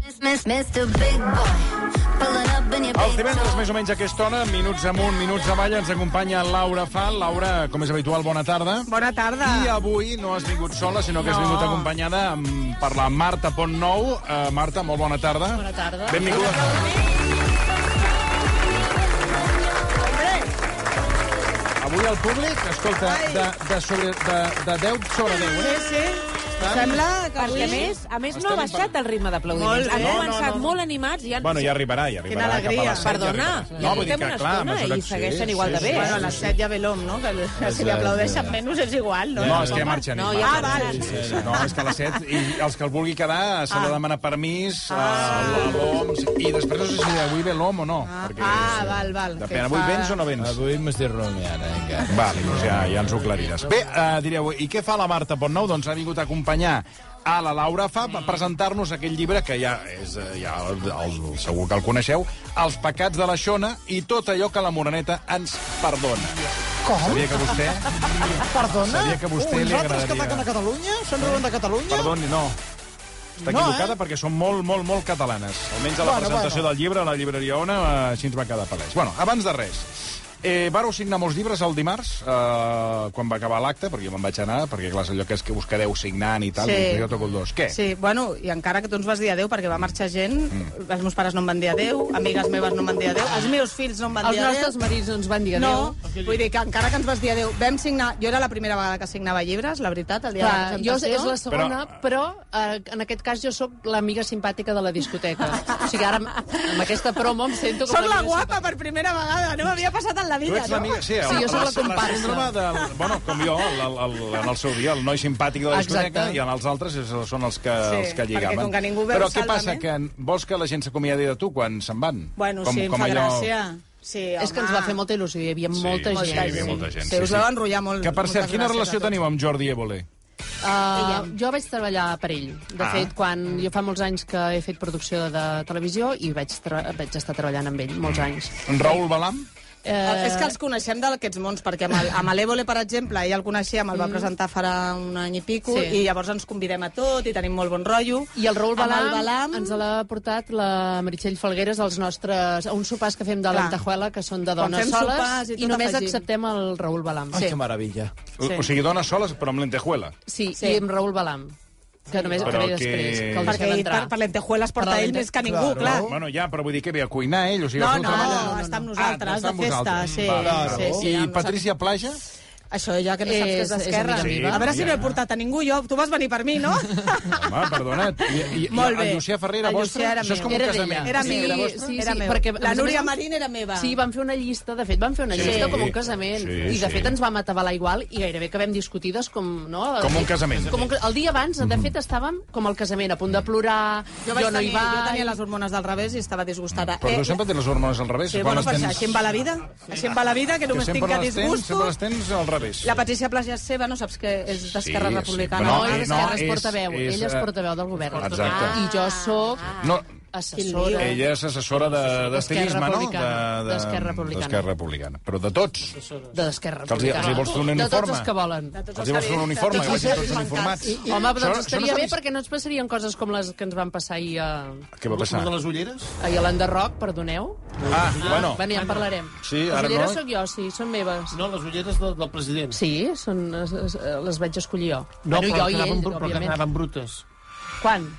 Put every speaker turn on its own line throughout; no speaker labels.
Mr. Big Boy, pulling up in your big
Els divendres,
toe.
més o menys a aquesta hora, minuts amunt, minuts avall, ens acompanya Laura Fal. Laura, com és habitual, bona tarda.
Bona tarda.
I avui no has vingut sola, sinó que has
No.
vingut acompanyada amb, per la Marta Pont Nou. Uh, Marta, molt bona tarda. Bona tarda. Benvinguda. Avui el públic, escolta,
Ai. Ah.
de, de, sobre, de, de 10 sobre 10, eh?
Sí, sí.
Tant.
Sembla que
Perquè a
avui...
més, a més no
Estem
ha baixat el ritme d'aplaudiments.
Molt
Han
bé. No, no,
començat
no.
molt animats i han...
Bueno, ja arribarà, ja arribarà.
Quina
Cap a
alegria.
les set, ja
Perdona,
arribarà.
ja portem una estona
mesura
i
que-
segueixen igual de bé,
Bueno, a les 7 ja ve l'om, no? Que si li aplaudeixen menys és igual, no?
No, és que ja marxen.
No,
ells,
ja
marxen.
marxen.
Sí, sí, sí. No, és que a les 7, i els que el vulgui quedar, s'ha de demanar permís a a l'OMS, i després no sé si avui ve l'OM o no. perquè,
ah, val, val,
Depèn,
que
avui
fa-
vens o no vens?
Avui m'estic rumiant, eh, encara.
Vale, doncs ja, ja ens ho aclariràs. Bé, eh, direu, i què fa la Marta Pontnou? Doncs ha vingut a acompanyar a la Laura fa a presentar-nos aquell llibre que ja és eh, ja el, el, segur que el coneixeu, Els pecats de la Xona i tot allò que la Moreneta ens perdona. Com? Sabia que vostè...
Perdona?
Sabia que a vostè
Uns
li
altres que
agradaria.
ataquen a Catalunya? Se'n riuen de Catalunya?
Perdoni, no. Està
No,
equivocada
eh?
perquè són molt, molt, molt catalanes. Almenys a la
Bueno,
presentació
bueno.
del llibre a la llibreria Ona, eh, així ens va quedar palès. Bueno, abans de res, eh, vàreu signar molts llibres el dimarts, eh, quan va acabar l'acte, perquè jo me'n vaig anar, perquè clar, és allò que és que us quedeu signant i tal,
Sí.
sí. jo toco el dos. Què?
Sí, bueno, i encara que tu ens vas dir adeu perquè va marxar gent,
Mm.
els meus pares no em van dir adeu, amigues meves no em van dir adeu, els meus fills no em van
Els
dir adeu.
nostres marits no ens van dir adéu.
No, vull dir que encara que ens vas dir adeu, vam signar... Jo era la primera vegada que signava llibres, la veritat, el dia
Clar,
de
jo
la presentació.
és la segona, però, eh, en aquest cas jo sóc l'amiga simpàtica de la discoteca. O sigui, ara amb amb aquesta promo em sento com
Soc la
l'amiga
guapa per primera vegada, no m'havia passat en la
Tu
vida,
ets l'amiga... Sí, eh?
Sí, jo sóc la comparsa.
síndrome de... Bueno, com jo, el, el, el, en el seu dia, el noi simpàtic de la
Exacte.
discoteca, i en els altres és, són els que,
Sí,
els que
perquè
lligaven.
com que ningú veu
Però què
Sálvame-
passa? Que vols que la gent s'acomiadi de tu quan se'n van?
Bueno, sí, em fa gràcia. Sí,
simpàtica. És que ens
home.
va fer molta il·lusió, hi havia
Sí,
molta
sí,
gent.
hi havia molta gent.
Sí, us vau enrotllar molt.
Que, per cert,
moltes
quina
gràcies
relació
a tots.
teniu amb Jordi Évole?
Uh, jo vaig treballar per ell. De
Ah.
fet, quan jo fa molts anys que he fet producció de televisió i vaig, tra- vaig estar treballant amb ell molts anys.
En Raül Balam?
Eh... És que els coneixem d'aquests mons, perquè amb el- amb l'Evole, per exemple, ja el coneixíem, el va presentar farà un any i pico,
Mm. Sí.
i llavors ens convidem a tot, i tenim molt bon rotllo.
I el Raül
Amb
Balam,
el Balam
ens l'ha portat la Meritxell Falgueres als nostres, a uns sopars que fem de
Clar.
l'Antajuela, que són de
Quan
dones
fem sopars
soles,
i
i,
tot
només
afegim.
acceptem el Raül Balam.
Ai, que meravella.
Sí. O sigui, dones soles, però amb lentejuela.
Sí,
Sí.
sí, i amb Raül Balam, que només
Però
que ve
que-
després, que el
perquè
deixem
ell per,
entrar.
per l'entejuela es porta
Per
ell
l'ente-
més que ningú, clar.
Claro.
Bueno, ja, però vull dir que ve a cuinar ell. O sigui,
No, no, no,
absolutament-
no,
Ah,
està amb nosaltres,
està
de
amb
festa.
vosaltres.
Sí,
Ah, Vale,
Claro.
sí, sí,
I
amb
Patricia Plaja?
nosaltres. Això ja que no saps que és
Eh, És- és
d'esquerra.
amiga
meva.
a veure si no he portat a ningú jo. Tu vas venir per mi, no?
Home, perdona. I, i,
Molt
I
bé.
el Llucià Ferrer era
El
vostre?
Llucià era
Això és com
meu.
un
Era
casament.
d'ella.
Era meu, era
sí,
vostra?
sí,
Era
sí,
meu.
perquè, a
La
més a
Núria
més,
Marín era meva.
Sí, van fer una llista, de fet, van fer una
Sí.
llista com un casament.
Sí,
I, de
sí.
fet, ens vam atabalar igual i gairebé que vam discutir doncs, com... No?
Com un casament. Mhm.
Com un, ca- el dia abans, de fet, estàvem com al casament, a punt de plorar,
Jo,
jo,
vaig
no hi
tenir,
vaig...
jo tenia les hormones del revés i estava disgustada.
Però tu sempre tens les hormones al revés.
Eh, Sí,
quan
bueno,
les
per això,
tens-
així em va la vida. Així em va la vida, que
que
només tinc
sempre
que
les tens,
disgusto.
sempre les tens al revés.
La Patricia Plaja és seva, no saps que és d'Esquerra
Sí, sí,
Republicana.
però
No,
eh,
ell
no,
és,
és-
portaveu,
és,
ell és
eh,
portaveu del govern. Ah.
Exacte. Ah.
I jo sóc
No,
assessora.
ella és assessora de- d'estilisme, no?
Republicana. D'Esquerra Republicana.
D'Esquerra Republicana. Però de tots.
de l'Esquerra
Que els hi-
Republicana.
els hi vols fer un
de tots
uniforme?
els que volen.
tots
Els hi vols fer un uniforme, que vagin tots uniformats.
Home,
Això-
doncs
això
estaria
no
bé
s'ha
perquè no ens passarien coses com les que ens van passar ahir a,
Què va passar?
les ulleres?
ahir a l'Enderroc, perdoneu.
Ah, bueno.
Va, ja en parlarem.
Sí,
les
ara
ulleres
no. eh?
sóc jo, sí, són meves.
No, les ulleres del, del president.
Sí, són, es, es, les vaig escollir jo.
No,
bueno,
però,
jo
que
i
anaven,
ell,
bru- però que
òbviament.
anaven brutes.
Quan?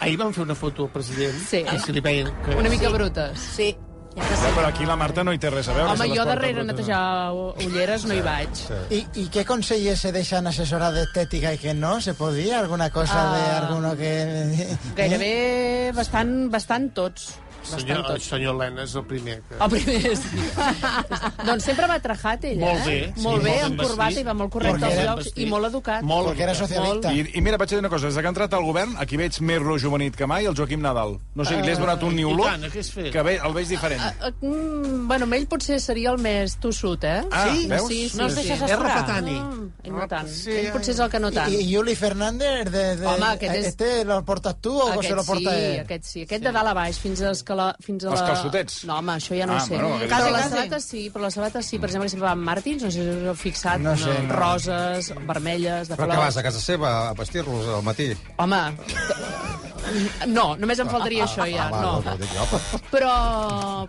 Ahir van fer una foto al president.
Sí.
Que si li veien que...
Una mica brutes.
Sí, ja que
No,
sí.
però aquí la Marta no hi té res a veure.
Home,
se les
jo
porta
darrere
brutes,
netejar u- ulleres no hi vaig.
¿Y, ¿Y qué consellers se dejan asesorar de estética y qué no? ¿Se podía? ¿Alguna cosa de
Ah.
alguno que...?
Gairebé bastant, bastant tots. Bastant
Senyor, el
tots.
senyor Lena és el primer. Que...
El primer, sí. doncs sempre va trajat, ell, eh?
Molt bé, sí,
molt bé,
molt ben
amb corbata
vestit.
i va molt correcte
Molt
als
ben
llocs
vestit.
i molt educat.
Molt
Porque era
educat.
socialista.
I, I mira, vaig dir una cosa, des de que ha entrat al govern, aquí veig més rejuvenit que mai el Joaquim Nadal. No sé, li has donat un new
i
look
tant, què has fet?
que ve, el veig diferent.
Eh, Mm, bueno, amb ell potser seria el més tossut, eh?
Ah, veus?
Sí, sí,
No els deixes
sí.
És
assorar.
repetani.
Mm, ell
Ah,
no tant. Ell potser és el que no tant.
¿Y, y Yuli Fernández? De, de-
Home, aquest és-
¿Este lo portas tú o se lo
sí,
porta eh? él?
aquest sí. Aquest de dalt a baix, fins als que la... Fins a
Els
la...
calçotets?
No, home, això ja no
Ah,
ho sé.
bueno, aquest-
però
Quasi,
les
quasi.
sabates sí, però les sabates sí. Per exemple, que sempre van Martins, no sé si us heu fixat,
No sé, no.
roses, vermelles, de
Però
flors...
que vas a casa seva a vestir-los al matí.
Home, No, només em
Ah,
faltaria això ja, no. Però...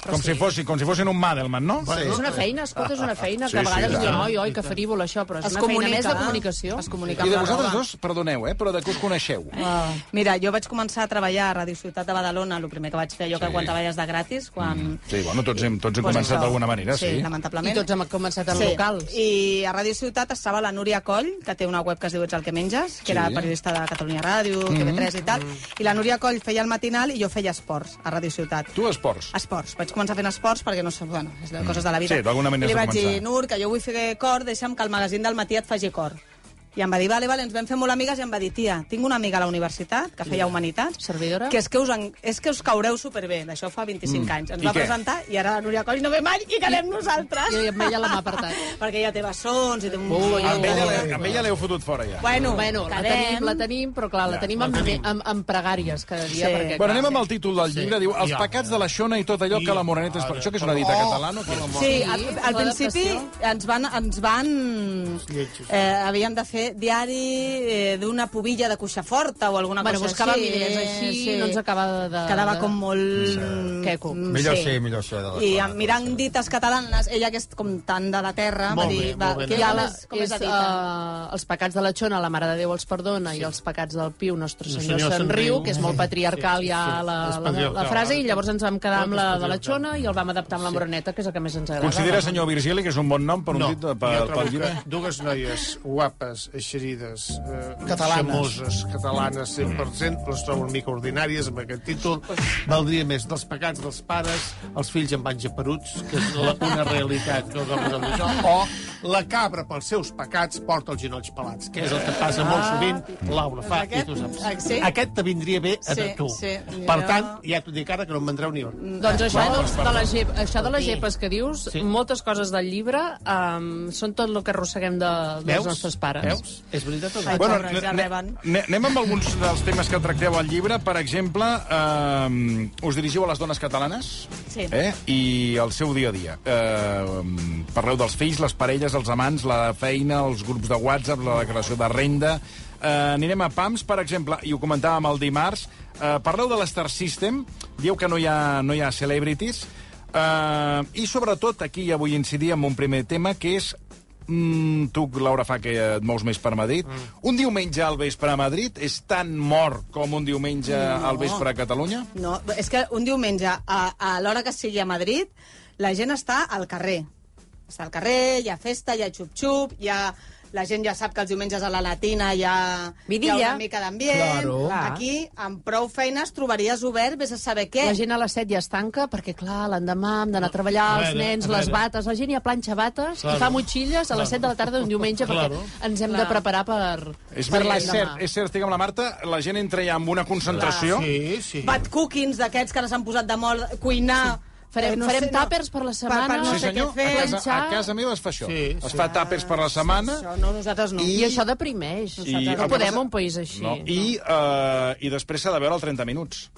però
Com si, fossi, com si fossin un Madelman, no?
És una feina, escolta, és una feina,
Sí,
que a
sí,
vegades
clar.
diuen, oi, oi, que farívola això, però és
Es
una feina més
comunica.
de comunicació.
Es comunica
I
amb
de
la
vosaltres
roba.
dos, perdoneu, eh, però de què us coneixeu?
Mira, jo vaig començar a treballar a Radio Ciutat de Badalona, el primer que vaig fer jo que quan treballes de gratis, quan...
Sí, bueno, tots hem, tots hem
Pues
començat
això.
d'alguna manera, sí.
Sí, lamentablement.
I tots hem començat al
Sí.
local.
I a Ràdio Ciutat estava la Núria Coll, que té una web que es diu Ets el que menges, que era periodista de Catalunya Ràdio,
Mm-hmm.
TV3 i tal, i la Núria Coll feia el matinal i jo feia esports a Ràdio Ciutat.
Tu, esports.
Esports. Vaig començar fent esports perquè no sé, bueno, és de coses de la vida.
Mm. Sí, d'alguna manera
I
has
Li
de
vaig dir,
començar.
Nur, que jo vull fer cor, deixa'm que el magazín del matí et faci cor. I em va dir, vale, vale, ens vam fer molt amigues i em va dir, tia, tinc una amiga a la universitat que feia humanitats,
Servidora?
que és que us, en... és que us caureu superbé, d'això fa 25 anys. Ens
Mm. I
va
què?
presentar i ara la Núria Coll no ve mai i quedem nosaltres.
Jo amb ella la mà apartat.
Perquè ella té bessons i té un...
Ui,
ah,
Amb ella, l'he- amb ella l'heu fotut fora, ja.
Bueno,
Bueno, la tenim, la tenim, però clar, la tenim amb, amb, amb pregàries cada dia.
Sí.
Perquè,
Bueno, anem amb el títol del llibre, diu Els pecats de la Xona i tot allò que la Moreneta...
Ah,
És... Això que és una dita
Oh,
catalana? o què és?
Sí, al, al principi ens van, ens van
Lletjos.
eh, havien de fer diari eh, d'una pubilla de cuixa forta o alguna
Bueno,
cosa
buscàvem
així.
idees així, no ens acabava de-
Quedava
de-
com molt...
Queco.
Mm,
Millor sí, millor sí, de la
I
Xona,
em- mirant dites catalanes, ella que és com tan de la terra,
Molt
va dir...
bé,
va,
molt bé.
què-
Ja
com
la,
és, com és, eh, la dita?
uh, els pecats de la Xona, la Mare de Déu els perdona, sí. i els pecats del Piu, Nostre
El
Senyor,
Senyor
se'n
se'n
riu,
riu.
que és molt
Sí,
patriarcal
sí,
ja
sí,
la,
és
la, la,
patriarcal.
frase, i llavors ens vam quedar
Tot
amb
és
la de la
patriarcal.
Xona i el vam adaptar amb la Moroneta, que és el que més ens agrada.
Considera, senyor Virgili, que és un bon nom per un
No,
dit,
jo
per,
trobo
pel llibre?
que dues noies guapes, eixerides, eh,
Catalanes.
xamoses, catalanes 100%, les trobo una mica ordinàries amb aquest títol. Valdria més dels pecats dels pares, els fills amb panxa peruts, que és la, una realitat que us ha posat això, o la cabra pels seus pecats porta els genolls pelats, que és el que passa molt sovint, Laura fa, i tu saps.
Ah. Aquest, sí.
Aquest te vindria bé a
Sí,
tu.
sí,
Per
jo-
tant, ja t'ho dic ara que no en vendreu ni un.
Doncs això, dels, de la gep, això de les gepes que dius,
Sí.
moltes coses del llibre um, són tot el que arrosseguem de, dels nostres pares.
Veus? És veritat o no?
Ai, pobres, ja
ne-
reben.
ne- anem amb alguns dels temes que tracteu al llibre. Per exemple, eh, us dirigiu a les dones catalanes
Sí.
eh? i el seu dia a dia. Eh, parleu dels fills, les parelles, els amants, la feina, els grups de WhatsApp, la declaració de renda... Eh, anirem a PAMS, per exemple, i ho comentàvem el dimarts. Eh, parleu de l'Star System, dieu que no hi ha, no hi ha celebrities, eh, i sobretot aquí ja vull incidir en un primer tema, que és Mm, tu, Laura, fa que et mous més per Madrid. Mm. Un diumenge al vespre a Madrid és tan mort com un diumenge Mm, no. al vespre a Catalunya?
No, és que un diumenge, a, a l'hora que sigui a Madrid, la gent està al carrer. Està al carrer, hi ha festa, hi ha xup-xup, hi ha... La gent ja sap que els diumenges a la Latina hi ha, hi ha
Vidilla.
una mica d'ambient.
Claro.
Clar.
Aquí, amb prou feines, trobaries obert, vés a saber què.
La gent a les 7 ja es tanca perquè, clar, l'endemà hem d'anar a treballar,
A
els
veure,
nens,
a
les
veure.
bates, la gent ja planxa bates i
Claro.
fa motxilles a les 7 de la tarda d'un diumenge perquè
Claro.
ens hem de preparar per,
És,
per
ver- és, cert,
l'endemà.
és cert, estic amb la Marta, la gent entra ja amb una concentració.
Sí, sí.
Bat cookings d'aquests que ara s'han posat de molt, cuinar...
Farem-
eh,
farem tàpers per la setmana,
Per, per no
Sí,
sé
senyor,
què
a
fer.
casa, a casa meva es fa això.
Sí,
es
sí.
fa tàpers per la setmana.
Això no, nosaltres no.
I, això deprimeix.
I-
no podem un país així.
No. I, uh, I després s'ha de veure el 30 minuts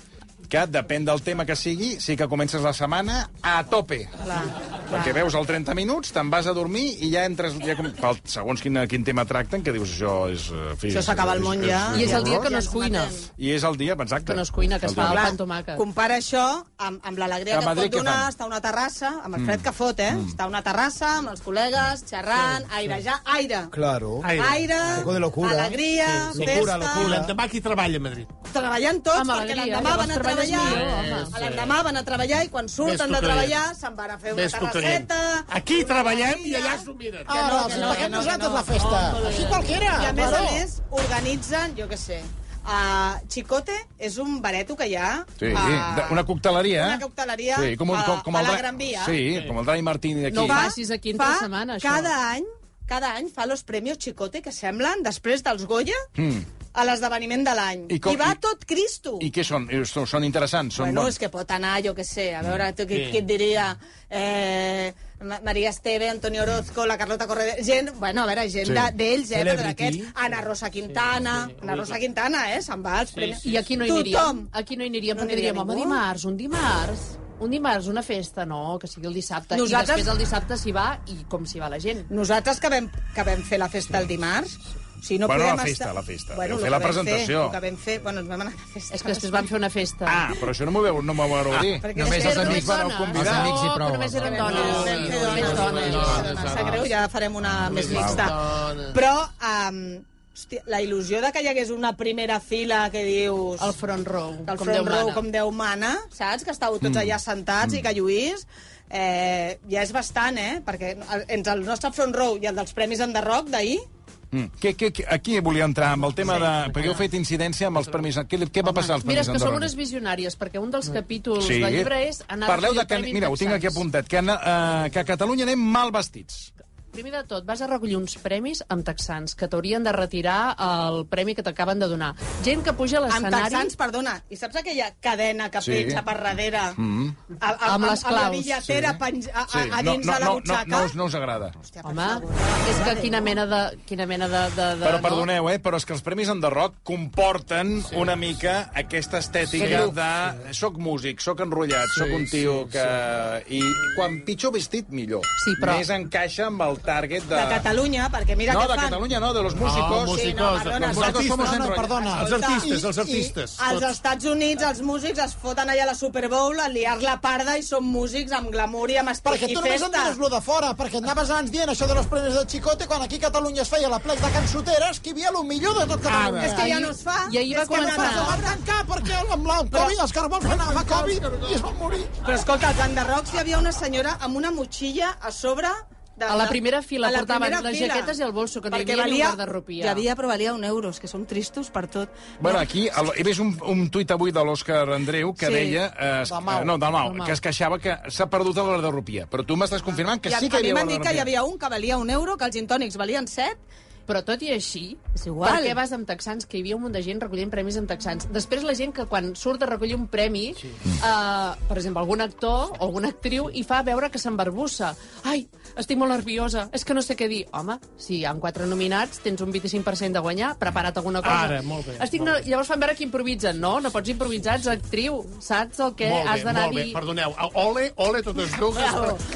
que depèn del tema que sigui, sí que comences la setmana a tope. Clar, Perquè veus el 30 minuts, te'n vas a dormir i ja entres... Ja com... pel, segons quin, quin tema tracten, que dius això és... eh, fi,
Això s'acaba el
és-
món ja.
I és el dia que no es
Ja ens
cuina.
matem.
I és el dia, exacte.
Que no es cuina, que es
El
fa
dia-
el pa
Clar,
amb tomàquet.
Compara això amb, amb l'alegria
A
que et
Madrid
pot
què
donar
fan?
estar a una terrassa, amb el fred que fot, eh? Estar a una terrassa amb els col·legues, xerrant, airejar, aire. Ah,
Claro.
Aire.
Aire,
Un poco de locura.
alegria,
Sí, sí.
festa...
I l'endemà qui treballa a Madrid?
Treballant tots,
Amb
perquè
alegria,
l'endemà
llavors
van a
treballes
treballar.
millor, home.
A L'endemà van a treballar i quan
Ves
surten
tu
de
que
treballar se'n van a fer una
Ves tu que dient.
terrasseta...
Aquí treballem i allà s'ho miren.
Ah, no, si paguem nosaltres la festa. Així qualquera,
I a més a
claro.
més organitzen, jo què sé, a Chicote és un bareto que hi ha...
Sí,
a-
de- una cocteleria.
Ah.
eh?
Una cocteleria
sí, com, un-
a,
com, com el
a la
Dra-
Gran Via.
Sí, com el Dani Martini d'aquí.
No va- facis aquí entre setmana, això.
Cada any, cada any fa los premios Chicote, que semblen, després dels Goya, mm. a l'esdeveniment de l'any.
Hmm. I
I,
com-
va
i-
tot Cristo.
I què són? Eh, Són, són interessants, són
bueno,
bons. Hmm.
és que pot anar, jo què sé, a veure, tu, qui,
Sí.
qui et diria... Eh, Ma- Maria Esteve, Antonio Orozco, la Carlota Corredera... Gent, bueno, a veure, gent
Sí.
de- d'ells, eh, però
Celebrity.
d'aquests. Ana Rosa Quintana, Ana Rosa Quintana, eh, se'n va als premis.
I aquí no hi
Tothom.
aniríem. Aquí no hi aniríem
No
perquè
aniria
diríem, home,
ningú.
dimarts, un dimarts, un dimarts, una festa, no, que sigui el dissabte.
Nosaltres-
I després el dissabte s'hi va i com s'hi va la gent.
Nosaltres que vam, que vam fer la festa el dimarts, O sigui, no
Bueno,
podem
la festa,
estar...
la festa.
Bueno,
Vau
el
fer
que
la
vam
presentació.
Fer, el que vam fer... Bueno, ens vam anar a festa.
És que després van fer una festa.
Ah, però això no m'ho veu, no m'ho veureu dir.
Ah, perquè
només
és que
els
eren
amics
només
van
dones.
convidar. Els amics i
No,
prou.
però només eren
Dones,
dones.
vam fer
Només
dones,
dones.
dones, dones. Sap greu, ja farem una més mixta. Però, um, hòstia, la il·lusió de que hi hagués una primera fila que dius...
El front row,
del
com
front
Déu
row
mana.
com Déu mana, saps? Que estàveu
Mm.
tots allà sentats i que lluís. Eh, ja és bastant, eh? Perquè entre el nostre front row i el dels Premis Enderroc d'ahir,
Mm. Què, què, què- aquí volia entrar amb el tema de... Perquè heu fet incidència amb els permisos. Què, què va passar als
Mira,
permisos?
és que sou
d'Andorra?
unes visionàries, perquè un dels capítols del llibre és... anar
Parleu de
recollir
que...
premis
Mira, ho tinc aquí
d'ençans.
apuntat. Que, uh, que a Catalunya anem mal vestits.
Primer de tot, vas a recollir uns premis amb texans, que t'haurien de retirar el premi que t'acaben de donar. Gent que puja a
amb texans,
l'escenari...
perdona, i saps aquella cadena que
Sí.
sí. penja per darrere? Mm. A, a,
Amb les
Amb la
claus.
billetera penja, a, a, a
no,
dins
no,
de la
no,
butxaca?
No, no, us- no us agrada.
Hòstia, per
Home,
favor.
és que quina mena de... Quina mena de, de, de
Però
no?
perdoneu, eh? Però és que els Premis Enderroc comporten sí, una mica aquesta estètica sí, de... Soc músic, soc enrotllat, sí, soc un tio sí, que... Sí. I quan pitjor vestit, millor.
Sí, però-
Més encaixa amb el target de...
De Catalunya, perquè mira
No,
què
de
fan.
Catalunya no, de los músicos.
Ah, músicos,
Sí, no, perdona,
els
nosaltres
artistes,
somos
no, no,
enrotllados.
perdona, els
Escolta,
artistes, els
i-
artistes.
Ah,
I, als
tots.
Estats Units els músics es foten allà a la Super Bowl a liar la parda i són músics amb glamour i amb estil
Perquè
i
tu només en
festa.
dius lo de fora, perquè anaves abans dient això de los premis del Xicote, quan aquí a Catalunya es feia la plec de cançoteres, que hi havia lo millor de tot Catalunya.
És que ja no es fa.
I ahir va
És que
començar.
no es
Va
fa.
tancar perquè amb la Covid, els carbons van anar a Covid i es van morir.
Però escolta, als Enderrocs hi havia una senyora amb una motxilla a sobre... De,
A la primera fila
a la
portaven
primera
les
fila.
jaquetes i el bolso, que no hi
Perquè
havia ni un
valia-
guardarropia.
Hi havia, però valia un euro, és que som tristos per tot.
Bueno, aquí el, he vist un, un tuit avui de l'Òscar Andreu que
Sí.
sí. deia... Eh, es-
Dalmau.
eh, No, Dalmau,
Dalmau.
que es queixava que s'ha perdut la guardarropia. Però tu m'estàs confirmant que
I a,
sí que
a
hi
mi
havia
m'han dit que hi
guardarropia.
havia un que valia un euro, que els gintònics valien set.
Però tot i així,
És igual.
per què vas amb texans? Que hi havia un munt de gent recollint premis amb texans. Després la gent que quan surt a recollir un premi, sí. eh, per exemple, algun actor o alguna actriu, i fa veure que s'embarbussa. Ai, estic molt nerviosa, és que no sé què dir. Home, si hi ha quatre nominats, tens un 25% de guanyar, prepara't alguna cosa.
Ara, molt bé,
Estic
molt
no... Llavors fan veure que improvisen, no? No pots improvisar, ets actriu. Saps el que
Molt
has
bé,
d'anar a
molt bé,
dir?
perdoneu. Ole, ole, totes dues.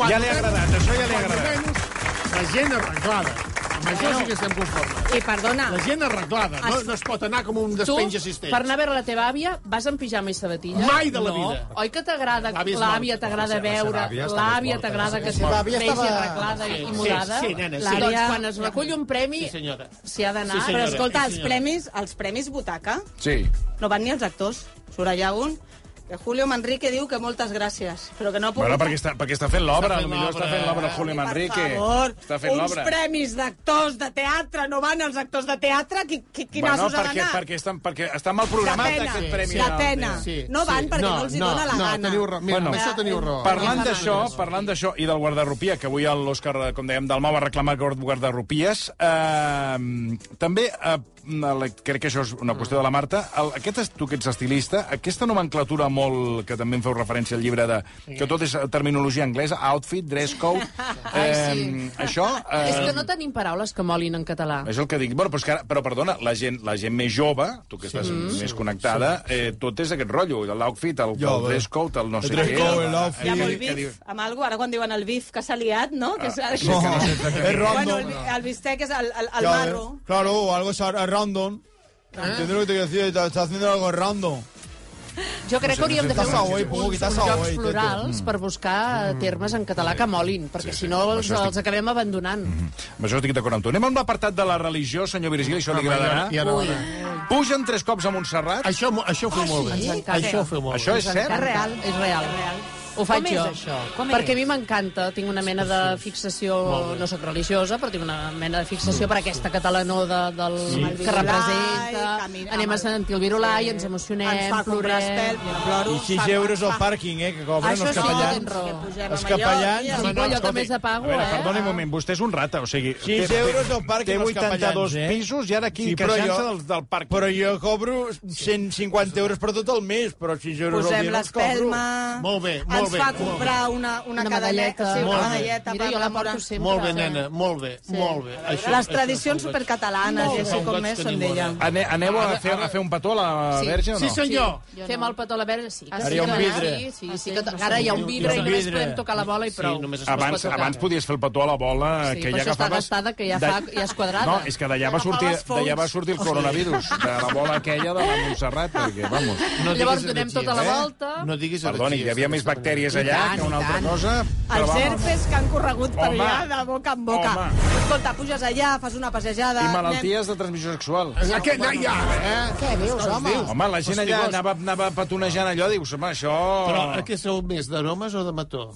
Ja li ha agradat, això ja li ha
Quan
agradat.
acabem, La gent arreglada. Amb això sí que estem conformes.
I perdona,
La gent arreglada. No, no es pot anar com un
Tu,
despenja cistell.
per anar a veure la teva àvia, vas en pijama i sabatilles?
Mai de la
no.
vida.
Oi que t'agrada,
L'àvia és
l'àvia
maca.
t'agrada veure, l'àvia t'agrada que es
sí, l'àvia
vegi
estava-
arreglada
Sí,
i
sí,
mudada?
sí, nena, sí.
Doncs
L'àvia-
quan es recull un premi,
Sí, senyora.
s'hi ha d'anar.
Sí, senyora.
però escolta,
sí,
els
senyora.
premis, els premis butaca
Sí.
no van ni els actors. Surt allà un que Julio Manrique diu que moltes gràcies, però que no ha pogut...
Bueno, perquè està, perquè està fent l'obra,
Està fent
potser està fent
l'obra.
l'obra el Julio Manrique.
Per favor,
està fent
uns
l'obra.
premis d'actors de teatre, no van els actors de teatre? Qui, qui, qui
bueno,
nassos ha
perquè,
d'anar?
perquè, estan, perquè està mal programat
pena,
aquest premi.
la pena. No van perquè no els hi dona la gana.
No, teniu raó. Mira,
Bueno,
amb això teniu raó.
Parlant d'això, parlant d'això i del guardarropia, que avui l'Òscar, eh, com dèiem, Dalmau va reclamar guard- guardarropies, eh, també, eh, la- crec que això és una qüestió de la Marta, el, aquest és, tu que ets estilista, aquesta nomenclatura molt, que també en feu referència al llibre, de, que tot és terminologia anglesa, outfit, dress code,
Ai,
eh,
sí.
això... Eh,
És que no tenim paraules que molin en català.
Eh,
és el que dic. Bueno, però, és que ara, però perdona, la gent, la gent més jove, tu que estàs sí. més connectada, eh, tot és aquest rotllo, l'outfit, el,
Jo,
el dress code, el no sé
dress
què...
code,
el-
l'outfit.
Hi ha molt
Què eh, diu?
bif amb algo, ara quan diuen el bif que s'ha liat, no? Que s'ha-
sí, que no sé exactament.
És
Bueno, el,
random.
bi- el bistec és el, el, el
Ya,
marro.
eh. Claro, algo es a- random. ¿Entiendes lo que te quiero decir? Está, está haciendo algo random.
Jo crec que hauríem de fer
Estàs
uns,
avui,
uns,
Puc,
uns
estàs
jocs
avui,
florals per buscar
Mm.
termes en català que molin, perquè
Sí, sí.
si no els,
Això estic-
els acabem abandonant.
Mm.
Amb això estic d'acord amb tu. Anem a un apartat de la religió, senyor Virgili, això li agradarà.
Ja, ja, ja,
Pugen tres cops a Montserrat.
Això, mo- això ho feu molt
Ah, Ens
bé.
encanta.
Això ho feu molt
Això
bé.
és cert?
real, és real. Ho faig
Com és
jo.
això? Com és?
perquè a mi m'encanta, tinc una mena de fixació, no sóc religiosa, però tinc una mena de fixació per aquesta catalanó de, del, que
Virolai,
representa.
camina-
Anem a sentir el virulai, ens emocionem,
Ens fa comprar
plorem.
espel, jo ploro.
Y 6
fa-
euros
fa- Ah,
al parking, eh, que cobran
Això
los
sí que tens
capellanes.
raó.
Pugem
Els
a Mallorca,
capellans-
i-
Sí,
no,
no, jo
escolti,
també és de
A
pago,
veure,
eh?
perdoni un moment, vostè és un rata, o sigui...
Sis euros al parc
Té
i no els
82
capellans, eh?
pisos i ara aquí
Sí,
sí,
però
queixant-se
jo-
del, del parc.
Però jo cobro 150 euros per tot el mes, però 6 euros al
Posem
dia no els cobro.
l'espelma...
Molt bé, molt Molt
ens
bé,
va
molt bé.
comprar una, una,
Una
cadaleta,
medalleta.
sí, una
Molt bé.
medalleta
Mira,
per
jo la
rememorar.
porto sempre.
Molt bé, nena, molt bé, molt bé. Això,
Les
això
tradicions
ho veig.
supercatalanes,
Molt
i
bé.
així
Com
com
vaig
més, són
tenir
d'ella.
bona.
Ane, aneu a fer, a fer un petó a la
Sí.
verge o no?
Sí, senyor.
Jo Fem no. el petó a la verge, sí.
Ah,
que
sí,
Faria
sí que
un
va anar,
vidre.
Sí,
Ah,
sí,
sí?
que to- ara hi ha un vidre
Un
i només
vidre.
podem tocar la bola i
Sí,
prou.
només es pot
Abans,
tocar.
abans podies fer el petó a la bola
Sí,
que
per
ja
això està
agafaves...
gastada, que ja
de-
fa- ja és quadrada.
No, és que d'allà va, sortir, d'allà va sortir el coronavirus, de la bola aquella de la Montserrat, perquè, vamos...
No diguis
Llavors donem
heretgies,
tota la
eh?
volta.
No diguis
Perdoni,
heretgies,
hi havia més
d'aquesta
bactèries allà
manera.
I tant,
que una
i
altra
tant.
cosa, però
Els
vamos...
herpes que han corregut per
Home.
allà de boca en boca.
Home.
Escolta, puges allà, fas una passejada...
I
anem-
malalties de transmissió sexual.
Aquest naia, eh?
Què dius, home?
Home, la gent allà anava, anava patonejant allò, dius, home, això...
Però què sou més, d'aromes o de mató?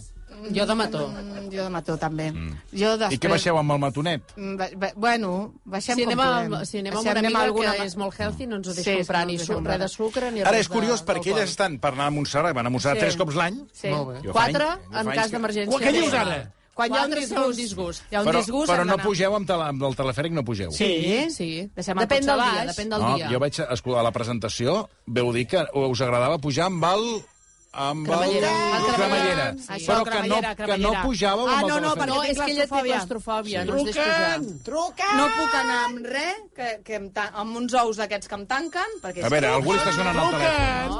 Jo de mató.
Mm, Jo de mató, també. Jo després...
I què baixeu amb el matonet?
Mm, ba- ba- Bueno, baixem
Si anem,
com podem.
a, si anem amb
Baixem,
una
anem a
amiga
alguna
que
ma-
és molt healthy, no ens ho
Sí,
deixa comprar
no
ni
ens ho
su-
comprar.
res de sucre ni
Ara
res
és curiós
de-
perquè
d'alcohol.
elles estan per anar a Montserrat, van a Montserrat
Sí.
tres cops l'any.
Sí.
Molt bé.
Jo fa
Quatre,
any- jo fa
en
anys
cas
que-
d'emergència.
Què dius ara?
Quan hi ha un
Quatre és
disgust.
un disgust.
Hi ha un
Però,
disgust...
però
hem
no
d'anar.
pugeu amb, tele, amb el telefèric, no pugeu.
Sí?
Sí.
Deixem el
Depèn
cotxe
del dia,
baix.
depèn del
No,
dia.
jo vaig escoltar la presentació, veu dir que us agradava pujar amb el... Amb
Cremallera.
El...
Ah,
cremallera.
cremallera.
Sí.
Això,
Però que no,
cremallera,
que no
cremallera.
pujàveu
Ah,
amb
no,
el
no,
telefèric.
No,
Té
és que ella té
claustrofòbia.
claustrofòbia, no es deixa pujar.
Truquen!
No puc anar amb res, que, que em ta... amb uns ous d'aquests que em tanquen, perquè...
A veure, algú li està sonant el telèfon.
No,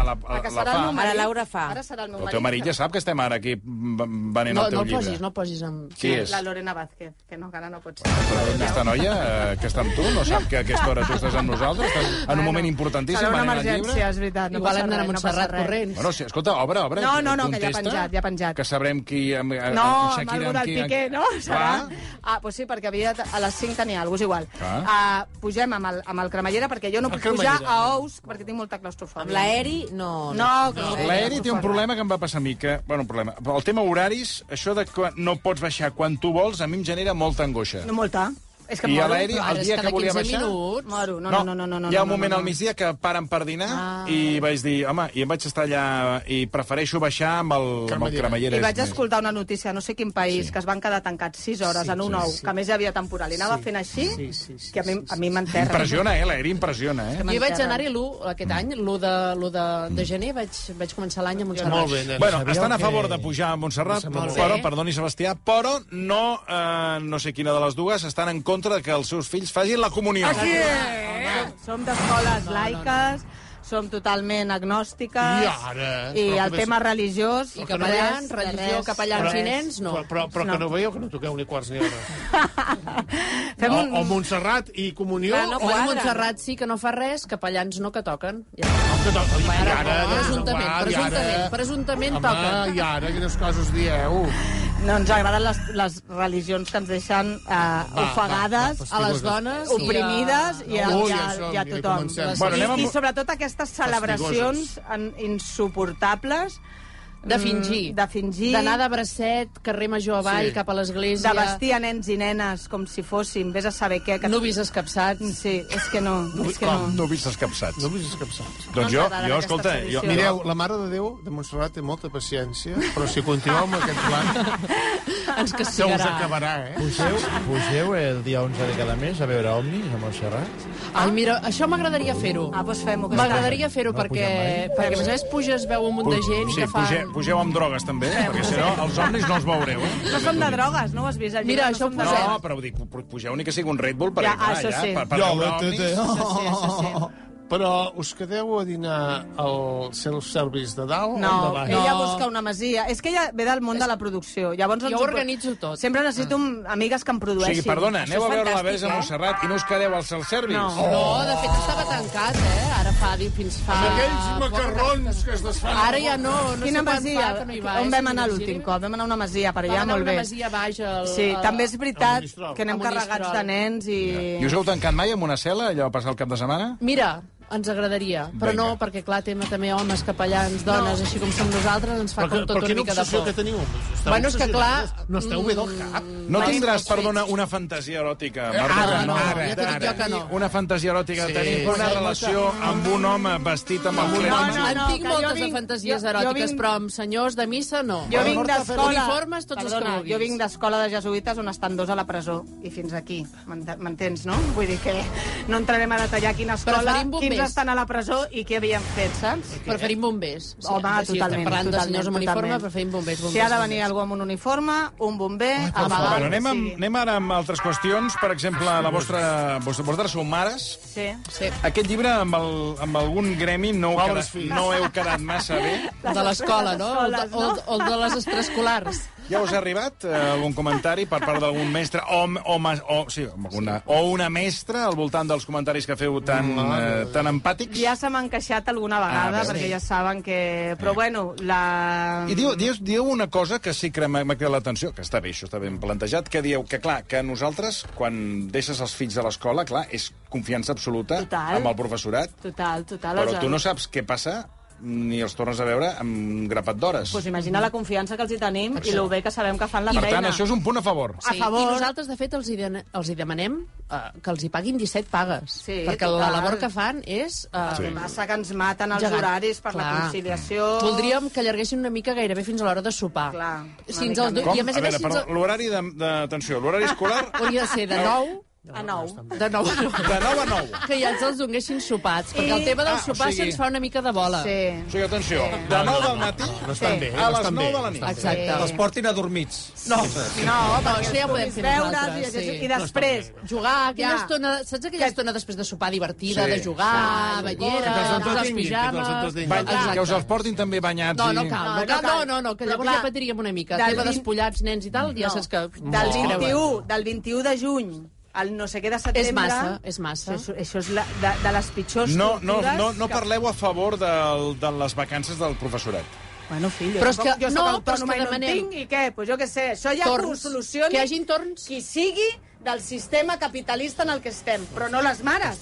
A la, a,
que
Ah, la
serà el meu
fa.
marit.
Ara Laura fa.
Ara serà el meu
El
marit.
teu marit ja sap que estem ara aquí mm, venent
No,
el
no
teu
el
llibre.
posis, no el posis amb...
Qui és?
La Lorena Vázquez, que no, que ara no pot ser.
Aquesta noia eh, que està amb tu no sap que a aquesta hora tu estàs amb nosaltres? Estàs en un moment importantíssim
Serà una
venent el
emergència,
llibre?
és veritat. No
Igual
passa
hem d'anar a
res, no passa
Montserrat
res.
corrents.
Bueno, sí, escolta, obre, obre.
No, no, no, que ja ha
contesta,
penjat, ja ha penjat.
Que sabrem qui... eh, Amb, amb
No, amb
Shakira,
algú
amb
del
qui-
Piqué, no? Serà?
Clar.
Ah, doncs sí, perquè havia, a les 5 tenia alguna cosa igual.
Clar.
Uh, pugem amb el, amb el cremallera, perquè jo no puc pujar
cremallera.
a ous, perquè tinc molta claustrofòbia.
Amb l'aeri, no.
No, no,
L'Eri té un problema que em va passar a mi, que... Bueno, un problema. El tema horaris, això de que no pots baixar quan tu vols, a mi em genera molta angoixa.
No, molta. És que
I a
moro.
l'Eri,
Però ara
el
és
dia
cada
que volia
15
baixar...
minuts.
Moro. No, no, no, no, no, no,
hi ha un
no,
moment
no, Ah.
al
no.
migdia que paren per dinar i vaig dir, home, i em vaig estar allà i prefereixo baixar amb el, amb el cremallera.
I vaig
És més.
escoltar una notícia, no sé quin país, sí. que es van quedar tancats 6 hores sí, en un ou, sí, sí. que a més hi havia temporal. I anava sí, fent així, sí, sí, sí, que a mi, a mi m'enterra.
Impressiona, eh, l'Eri, impressiona, eh?
Jo hi vaig anar-hi l'1, aquest any, l'1 de, l'1 de,
Mm.
de gener, vaig, vaig començar l'any a Montserrat.
Molt bé, nena.
Bueno,
Sabíeu
estan a
que-
favor de pujar a Montserrat,
molt
però,
bé.
perdoni Sebastià, però no, eh, no sé quina de les dues, estan en contra de que els seus fills facin la comunió. Així
Som- Som d'escoles laiques, som totalment agnòstiques,
I ara?
i
Però
el
que
tema religiós...
I capellans,
de res,
religió,
de
capellans i
res.
nens, no.
Però, però, però que no veieu que no toqueu ni quarts ni hora.
Fem
O,
un...
o Montserrat i Comunió...
Clar, no,
o...
però a Montserrat sí que no fa res, capellans no que toquen. Ja.
Que to... I ara,
presumptament,
va, i ara.
presumptament, presumptament
Home,
toquen.
i ara, quines coses dieu.
No ens agraden les, les religions que ens deixen eh, ofegades,
va,
A les dones... i a-
oprimides i a,
Ui,
i a,
això,
i a
mira,
tothom.
comencem.
Bueno,
I,
anem amb-
I sobretot aquestes celebracions en- insuportables
De fingir.
mm, de fingir,
D'anar de bracet, carrer Major avall,
Sí.
cap a l'església.
de vestir a nens i nenes com si fossin, vés a saber què. Que... Mm,
Nuvis escapçats.
Sí, és que no, és que no.
com?
No vist escapçats.
No vull escapçar.
Doncs
No
jo,
ens agraden
jo
aquestes
escolta... Jo,
tradicions.
Mireu, la Mare de Déu de Montserrat té molta paciència, però si continueu amb aquest plan,
Ens
se us
castigarà.
acabarà, eh?
Pugeu, pugeu el dia 11 de cada mes a veure Omnis a Montserrat?
Ai, mira, això m'agradaria fer-ho.
Ah, doncs fem-ho. que
M'agradaria fer-ho
No
perquè,
pugem mai.
perquè, a més a més, puges, veu un munt de gent
sí,
que fa...
pugeu, pugeu amb drogues també, eh? perquè si no els omnis no els veureu. Eh?
No som de drogues, no ho has vist? Al
Mira,
llibre,
això
no som
ho
de
posem.
No,
drogues.
però dic, pu- pu- pugeu ni que sigui un Red Bull, perquè
Ja,
clar,
això
ja,
sí.
per, per veure
te- te-
omnis...
Això sí, això sí.
Però us quedeu a dinar al self-service de dalt
No,
o de baix?
ella busca una masia. És que ella ve del món de la producció. Llavors
Jo
ens
ho organitzo tot.
Sempre necessito mm, amigues que em
Ah. O
produeixin.
sigui, perdona, aneu a
Això és
veure la
fantàstic, eh?
Verge a Montserrat i no us quedeu al self-service?
No.
No, de fet estava tancat, eh? Ara fa, diu, fins fa...
Aquells macarrons que es desfan.
Ara ja no, no
Quina
sé quan
masia?
fa que eh, no hi vaig.
On vam anar
Imagina't.
l'últim cop? Vam anar a una masia, per
Vam anar
allà,
a
molt
una
bé.
masia baix al...
Sí,
al-
també és
a
veritat
Monistrol.
que anem
A Monistrol.
carregats de nens i...
I us heu tancat mai amb una cel·la, allò a passar el cap de setmana?
Mira, ens agradaria, però
Vinga.
no, perquè clar, tema també homes, capellans, dones, així com som nosaltres, ens fa
Però, que,
com
però
tot una
quina
mica de
obsessió
por.
que teniu? Esteu
Bueno, és que clar,
obsessionats. No esteu bé del cap.
No tindràs, perdona, una fantasia eròtica, Marta?
Eh, Ara, no,
Ara,
ja t'ho dic jo
ara.
que no.
Una fantasia eròtica de tenir una relació amb un home vestit amb el
No,
clergue.
no,
en
no,
tinc
que jo
moltes de
vinc-
fantasies
jo- jo
eròtiques,
vinc-
però amb senyors de missa no.
Jo vinc d'escola...
Uniformes, tots els que
Perdona,
vulguis.
Jo vinc d'escola de jesuïtes on estan dos a la presó i fins aquí. M'ent- M'entens, no? Vull dir que no entrarem a detallar quina escola,
Preferim bombers.
quins bombers estan a la presó i què havien fet, saps? Eh,
Preferim bombers. Sí,
Home,
si
totalment.
estem parlant
totalment,
de senyors amb uniforme,
totalment.
preferim bombers. bombers
Si ha de
bombers.
venir algú amb un uniforme, un bomber...
Bueno,
Ai,
Ah, anem, amb, anem ara amb altres qüestions. Per exemple, la vostra... Vostres, vostres sou mares.
Sí.
Sí.
Aquest llibre, amb, el, amb algun gremi, no heu, quedat,
Pobres fills.
no heu quedat massa bé.
De l'escola, no? O, de,
escoles,
o, o de les extraescolars.
Ja us ha arribat eh, algun comentari per part d'algun mestre o, o, mas- o, sí, una, o una mestra al voltant dels comentaris que feu tan, eh, tan empàtics?
Ja se m'han queixat alguna
Ah,
vegada,
veus?
perquè ja saben que... Però bueno, la...
I diu, diu, diu una cosa que sí que m'ha m'ha cridat l'atenció, que està bé, això està ben plantejat, que dieu que, clar, que nosaltres, quan deixes els fills a l'escola, clar, és confiança absoluta
Total.
amb el professorat,
Total, total.
però
els-
tu no saps què passa ni els tornes a veure amb un grapat d'hores.
Doncs
Pues imagina la confiança que els hi tenim i el bé que sabem que fan la
per
feina.
tant, això és un punt a favor.
A favor.
I nosaltres, de fet, els hi, de, els hi demanem uh, que els hi paguin 17 pagues.
Sí,
perquè la
total.
labor que fan és... Uh,
Sí.
sí.
Passa que ens maten els
Gegant.
horaris per la
Clar.
conciliació...
Voldríem que allarguessin una mica gairebé fins a l'hora de sopar.
Clar, una
Si ens
mica
el, do-
Com?
I a més a,
veure,
més, si ens
perdó,
el,
l'horari de- d'atenció, l'horari escolar,
hauria de ser de 9
A nou.
de 9 a 9
de 9 a 9.
que ja ens els donguessin sopats, perquè el tema del
Ah, o
sopar
sigui-
se'ns fa una mica de bola.
Sí.
O sigui, atenció, de 9 del matí
No estan bé,
a
no
les
estan
9
bé.
de la nit.
Exacte.
Els portin adormits.
No,
No,
no, això ja ho podem fer
veure's i,
nosaltres.
llegeixes-
Sí.
i després...
Jugar, aquella
Ja.
estona... Saps aquella estona després de sopar divertida,
Sí.
de jugar, banyera,
Que te'ls
posar els
entretinguin, que te'ls
pijames...
entretinguin.
Bany,
Exacte.
que us els portin també banyats.
No,
i-
no cal, no,
No,
cal,
no
no,
cal.
no, no, que
Però
llavors
clar,
ja patiríem una mica.
del
El tema
vint-
despullats, nens i tal, ja saps que... es
Del
creuen.
21, del 21 de juny al no sé què de setembre...
És massa, és massa.
Això, això és la, de, de les pitjors
No, no,
tortures
no, no
que-
parleu a favor del, de les vacances del professorat.
Bueno, fill, jo
Però és
tampoc-
que-
jo
no,
soc
però és que
autònoma i no en
demanem-
tinc, i què? Pues jo què sé, això ja que ho
Torns,
solucioni
que hi hagin torns.
qui sigui del sistema capitalista en el que estem, però no les mares,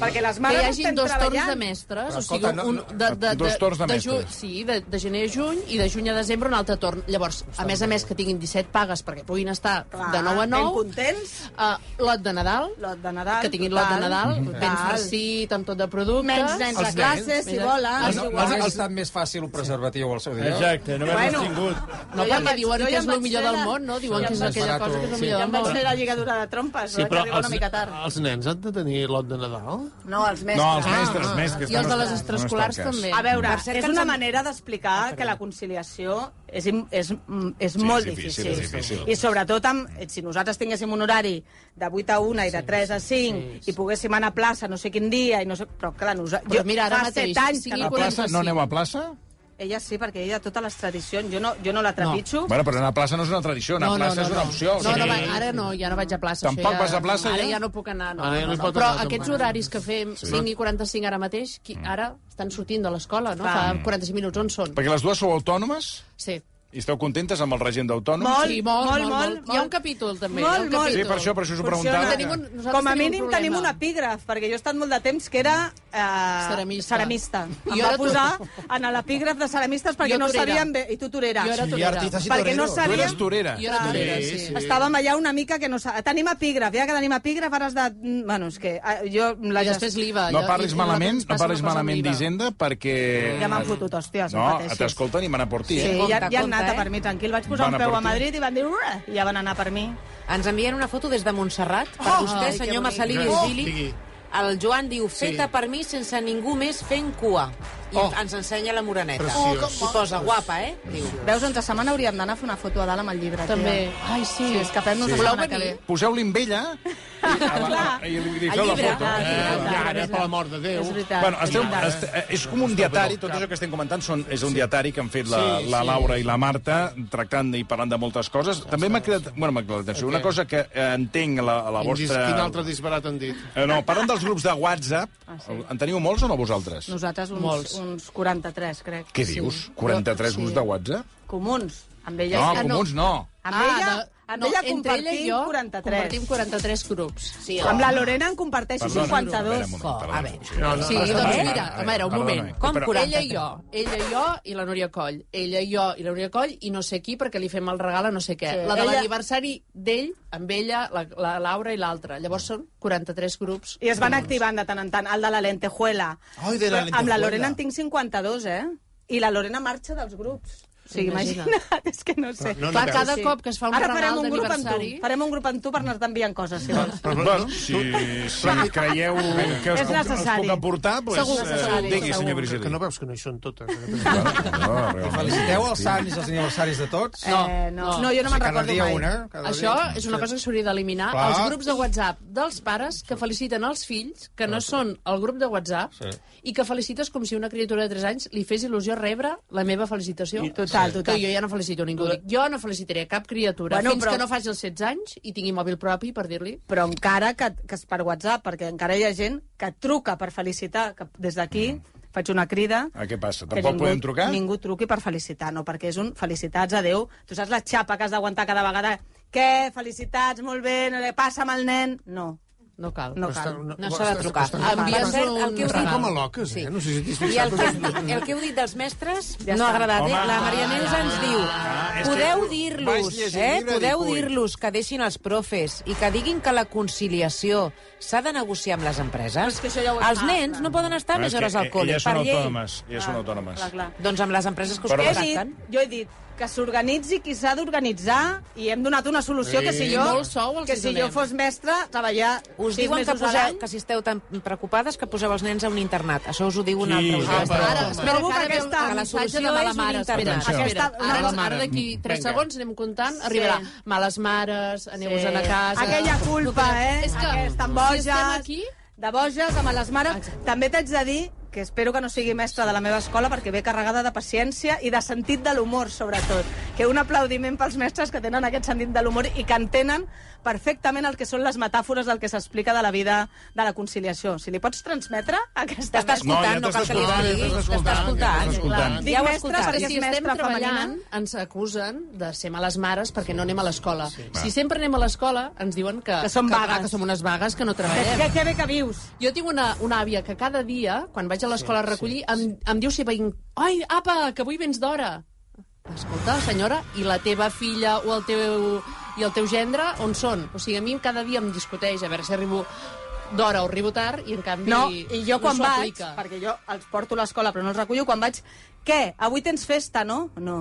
perquè les
que
mares
hi hagin
estem
dos torns
treballant.
de mestres,
Però,
o sigui,
escolta, no-
un,
no-
de, de,
Dos torns de
ju-
mestres.
sí, de, de gener a juny i de juny a desembre un altre torn. Llavors, a més a més que tinguin 17 pagues perquè puguin estar
Clar,
de 9 a
Ben
9,
contents,
uh, lot de Nadal,
lot de Nadal.
que tinguin lot
total,
de Nadal, ben
total.
farcit, amb tot de productes.
Menys nens a
Els
classe,
nens.
si volen.
Els-
No,
igual.
no ha estat més fàcil un preservatiu al seu dia?
Exacte, no m'has
Bueno.
tingut.
No,
Jo ja em
perquè
vaig-
diuen
jo
que
ja
és
em
el
vaig
millor
fer
del
la-
món, no? Diuen
jo
que és
em vaig-
aquella cosa que és el millor del
Jo em vaig
món.
fer la lligadura de trompes,
Sí,
vaig
però
arribar
els,
una mica tard.
els nens han de tenir lot de Nadal?
No, els mestres.
No, els mestres, mestres.
Ah, I els de les extraescolars també.
A veure,
Per cert,
és
que ens
una
han- Ah,
manera d'explicar que la conciliació és, im- és, mm, és
Sí,
molt
és difícil,
difícil.
és difícil.
I sobretot, amb, eh, si nosaltres tinguéssim un horari de 8 a 1 i de 3 a 5 i poguéssim anar a plaça no sé quin dia, i no sé, però clar, nosa-
Però mira, ara
fa
mateix,
set anys que
sigui
no...
A plaça? No aneu a plaça?
Ella sí, perquè ella totes les tradicions, jo no, jo no la trepitjo.
Bueno, però anar a plaça no és una tradició, anar a plaça és una opció.
No, no, va, ara no, ja no vaig a plaça.
Tampoc
això ja,
vas a plaça,
Ara
ja?
ja no puc anar, no.
Ara
no,
ja no
no,
es
no.
pot
Però
anar,
aquests
tampoc.
horaris que fem, 5 i 45 ara mateix, qui, ara estan sortint de l'escola, no? Fa 45 minuts, on són?
Mm. Perquè les dues sou autònomes
Sí.
i esteu contentes amb el règim d'autònom?
Molt,
sí, molt,
molt,
molt,
molt,
Hi ha un
molt.
capítol, també.
Molt,
hi ha un
molt.
capítol.
Sí, per això, per això us ho
Funciona.
preguntava.
Tenim un- nosaltres
Com a
tenim un
mínim
problema.
tenim un epígraf, perquè jo he estat molt de temps que era eh,
Ceramista.
ceramista. Em
Jo
va
era tu-
posar en l'epígraf de ceramistes perquè
Jo
no
torera.
sabíem bé... I tu torera.
Jo era
I
torera.
artistes i
perquè no
toreros.
Tu eres
sabíem...
torera.
Jo era torera, sí.
Sí, sí.
Estàvem allà una mica que no... sa- Tenim epígraf, ja que tenim epígraf, ara has de... mm, Bueno, és que ah, jo... La
I després l'IVA.
No
allò-
parlis
i- i
malament,
nosaltres
no
passa
parlis
una cosa amb
malament
l'IVA.
d'Hisenda perquè...
Ja m'han fotut, hòsties,
No,
no pateixis.
t'escolten i van a por ti,
Sí,
eh?
ja,
Compte,
ja han anat
compte,
a per mi, tranquil. Vaig posar
Van a
un peu
per
a
tu.
Madrid i van dir... "Ura", I ja van anar per mi.
Ens envien una foto des de Montserrat per
Oh!
vostè,
Ai, que
senyor
bonic.
Massalí i
Oh!
Virgili.
Digui.
El Joan diu, feta per mi sense ningú més fent cua. I
Oh.
ens ensenya la moreneta.
Preciós. Oh, com
I posa, guapa, eh? Diu.
Veus, entre setmana hauríem d'anar a fer una foto a dalt amb el llibre,
També.
tia.
Ai, sí.
Sí, escapem-nos sí. la
Voleu
setmana que
venir?
ve.
Poseu-li amb ella i, a la, i li, li feu la
llibre.
foto.
Ah,
Eh,
clar,
ja,
clar,
ara,
clar.
per l'amor de Déu.
És veritat.
Bueno, esteu, est, eh, és com un dietari, tot això que estem comentant són, és un dietari que han fet la,
Sí,
la
sí.
Laura i la Marta, tractant i parlant de moltes coses. També m'ha cridat, bueno, m'ha cridat l'atenció. Una cosa que eh, entenc a la, a la
Quin, dis,
vostra...
quin altre disbarat han dit?
Eh, no, parlant dels grups de WhatsApp, en teniu molts o no vosaltres?
Nosaltres uns,
Molts.
uns 43, crec.
Què dius? 43
Sí.
grups de WhatsApp?
Comuns. Amb ella,
No,
Ah,
comuns no.
Amb ella,
Ah, de-
amb ella
entre
compartim
i jo
43.
Compartim 43 grups. Sí,
Amb la Lorena en comparteixo
Perdona, espera
52.
un moment, perdona.
a veure.
Sí, no, no,
Sí,
perdona.
doncs
Eh?
mira, a veure, un
Perdona, eh.
moment.
Com
però-
40?
Ella i jo, ella i jo i la Núria Coll. Ella i jo i la Núria Coll i no sé qui perquè li fem el regal a no sé què.
Sí.
La de
Ella-
l'aniversari d'ell, amb ella, la, la Laura i l'altra. Llavors són 43 grups.
I es van activant de tant en tant. El de la lentejuela.
Ai, de la
Però Amb la
lentejuela.
Lorena en tinc 52, eh? I la Lorena marxa dels grups. O O sigui,
Imagina't.
imagina't, és que no sé.
Però no-
Clar,
veus?
cada cop que es fa un
Ara farem
Nadal
un grup amb tu.
d'aniversari...
Farem un grup amb tu per anar-te enviant coses, si vols.
Però,
Bueno, si, si creieu que us
És
puc, us
necessari.
puc aportar, pues,
Segur que
eh,
necessari.
digui,
Segur
senyor
que-
Virgili.
Que no veus que no hi són totes. eh?
no,
Feliciteu els sants i els aniversaris de tots.
Eh, no. no, jo no me'n
Cada
recordo
dia
mai.
una. Cada
Això
dia.
és una cosa que s'hauria d'eliminar.
Clar.
Els grups de WhatsApp dels pares que feliciten els fills, que no són el grup de WhatsApp, i que felicites com si una criatura de 3 anys li fes il·lusió rebre la meva felicitació.
I- total, total.
Que jo ja no felicito ningú. Dic, jo no felicitaré cap criatura
Bueno,
bueno, fins
però-
però... que no faci els 16 anys i tingui mòbil propi per dir-li...
Però encara que, que és per WhatsApp, perquè encara hi ha gent que truca per felicitar, que des d'aquí
Mm.
faig una crida...
Ah, què passa?
que
Tampoc podem trucar? Ah,
Ningú truqui per felicitar, no, perquè és un felicitats, adeu. Tu saps la xapa que has d'aguantar cada vegada? Què? Felicitats, molt bé, no li passa amb el nen? No,
No cal.
no cal.
No s'ha de trucar.
Estan,
Envies
Per cert, el
un
que us
estan
dic-
com a loques, eh?
Sí.
No sé si t'has
I el que,
fixat.
us dic- el que heu dit dels mestres
Ja
no
està.
ha agradat, eh?
Home.
La Maria Neus ens diu,
Ah, és que
podeu
vaig
dir-los,
llegir el
eh?
llibre i
Podeu
dic, ui.
dir-los que deixin els profes i que diguin que la conciliació s'ha de negociar amb les
Però és
empreses.
que això ja ho-
Els
Ah,
nens
clar.
no poden estar més hores al col·le,
eh, e- Elles
per
són
llei.
autònomes. Elles són autònomes.
Ah, Clar, clar.
Doncs amb les empreses que us
Però-
He dit,
contacten.
jo he dit que s'organitzi qui s'ha d'organitzar i hem donat una solució que si jo,
Molt sou els
que
hi
si
donem.
jo fos mestre, treballar
Us
sis
diuen que,
mesos a
poseu,
l'any.
que si esteu tan preocupades que poseu els nens a un internat. Això us ho diu un altre.
Qui- Ah,
Us ho
però-
diu.
Ara, espera,
Trobo
que
que
ara ve el
aquesta-
la
missatge de mala
solució
mare.
és un
Espera,
internat.
espera.
Aquesta- una
Ara,
mala mare.
ara d'aquí 3
Vinga.
segons anem comptant, arribarà males mares, aneu-vos a la casa...
Eh, Aquella culpa, eh?
És que
Estan
si
boges,
estem aquí...
de boges, amb les mares. També t'haig de dir que espero que no sigui mestra de la meva escola perquè ve carregada de paciència i de sentit de l'humor, sobretot. Que un aplaudiment pels mestres que tenen aquest sentit de l'humor i que entenen perfectament el que són les metàfores del que s'explica de la vida de la conciliació. Si li pots transmetre aquesta...
T'està escoltant, no,
t'està
cal que li diguis.
escoltant, ja t'està
T'està
escoltant, ja t'està escoltant.
escoltant.
Dic
Ja ho ha
mestre
escoltat.
perquè
si
és
estem
mestra
treballant,
femenina.
ens acusen de ser males mares perquè no anem a l'escola. Si sempre anem a l'escola, ens diuen que,
Que som
que,
vagues.
que som unes vagues que no
Que,
treballem.
que, que bé que vius.
Jo tinc una, una àvia que cada dia, quan vaig a l'escola a recollir, em, em diu si vinc... Ai, apa, que avui vens d'hora. Escolta, senyora, i la teva filla o el teu, i el teu gendre, on són? O sigui, a mi cada dia em discuteix, a veure si arribo d'hora o arribo tard, i en canvi...
No, i jo
no
quan
s'ho
vaig,
aplica.
perquè jo els porto a l'escola però no els recullo, quan vaig, què, avui tens festa, no? No.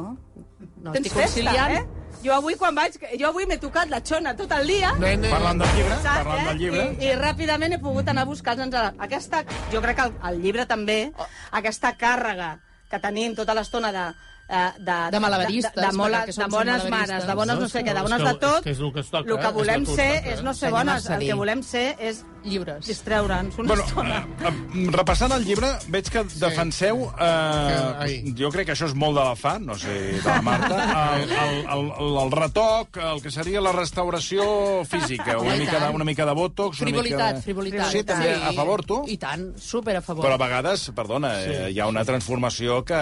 No,
tens
estic conciliant.
festa, eh? Jo avui quan vaig, jo avui m'he tocat la xona tot el dia,
Parlant del llibre,
saps, eh?
parlant del llibre...
I, I ràpidament he pogut anar a buscar els nens. a la- Aquesta, jo crec que el, el llibre també,
Oh.
aquesta càrrega que tenim tota l'estona de, eh, de,
De malabaristes,
de, de, de, mola-
perquè som
de bones
malabaristes.
mares, de bones
No,
no,
és
sé
que-
què, de
és
bones
que-
de tot,
és que és el que es toca,
el que
és
volem
el que us
ser
toca,
és no ser
Senyor
bones, el
Marcelí.
que volem ser és
Llibres.
distreure'ns una
Bueno,
estona.
eh, eh, repassant el llibre, veig que defenseu... Eh,
Que- ai.
jo crec que això és molt de la fa, no sé, de la Marta, el, el, el, el, el retoc, el que seria la restauració física, una,
Home, i
mica, de,
tant.
una mica de botox... una
Frivolitat,
mica de...
frivolitat.
Sí, també a favor, tu?
I tant, super a favor.
Però a vegades, perdona, sí, hi ha una transformació que,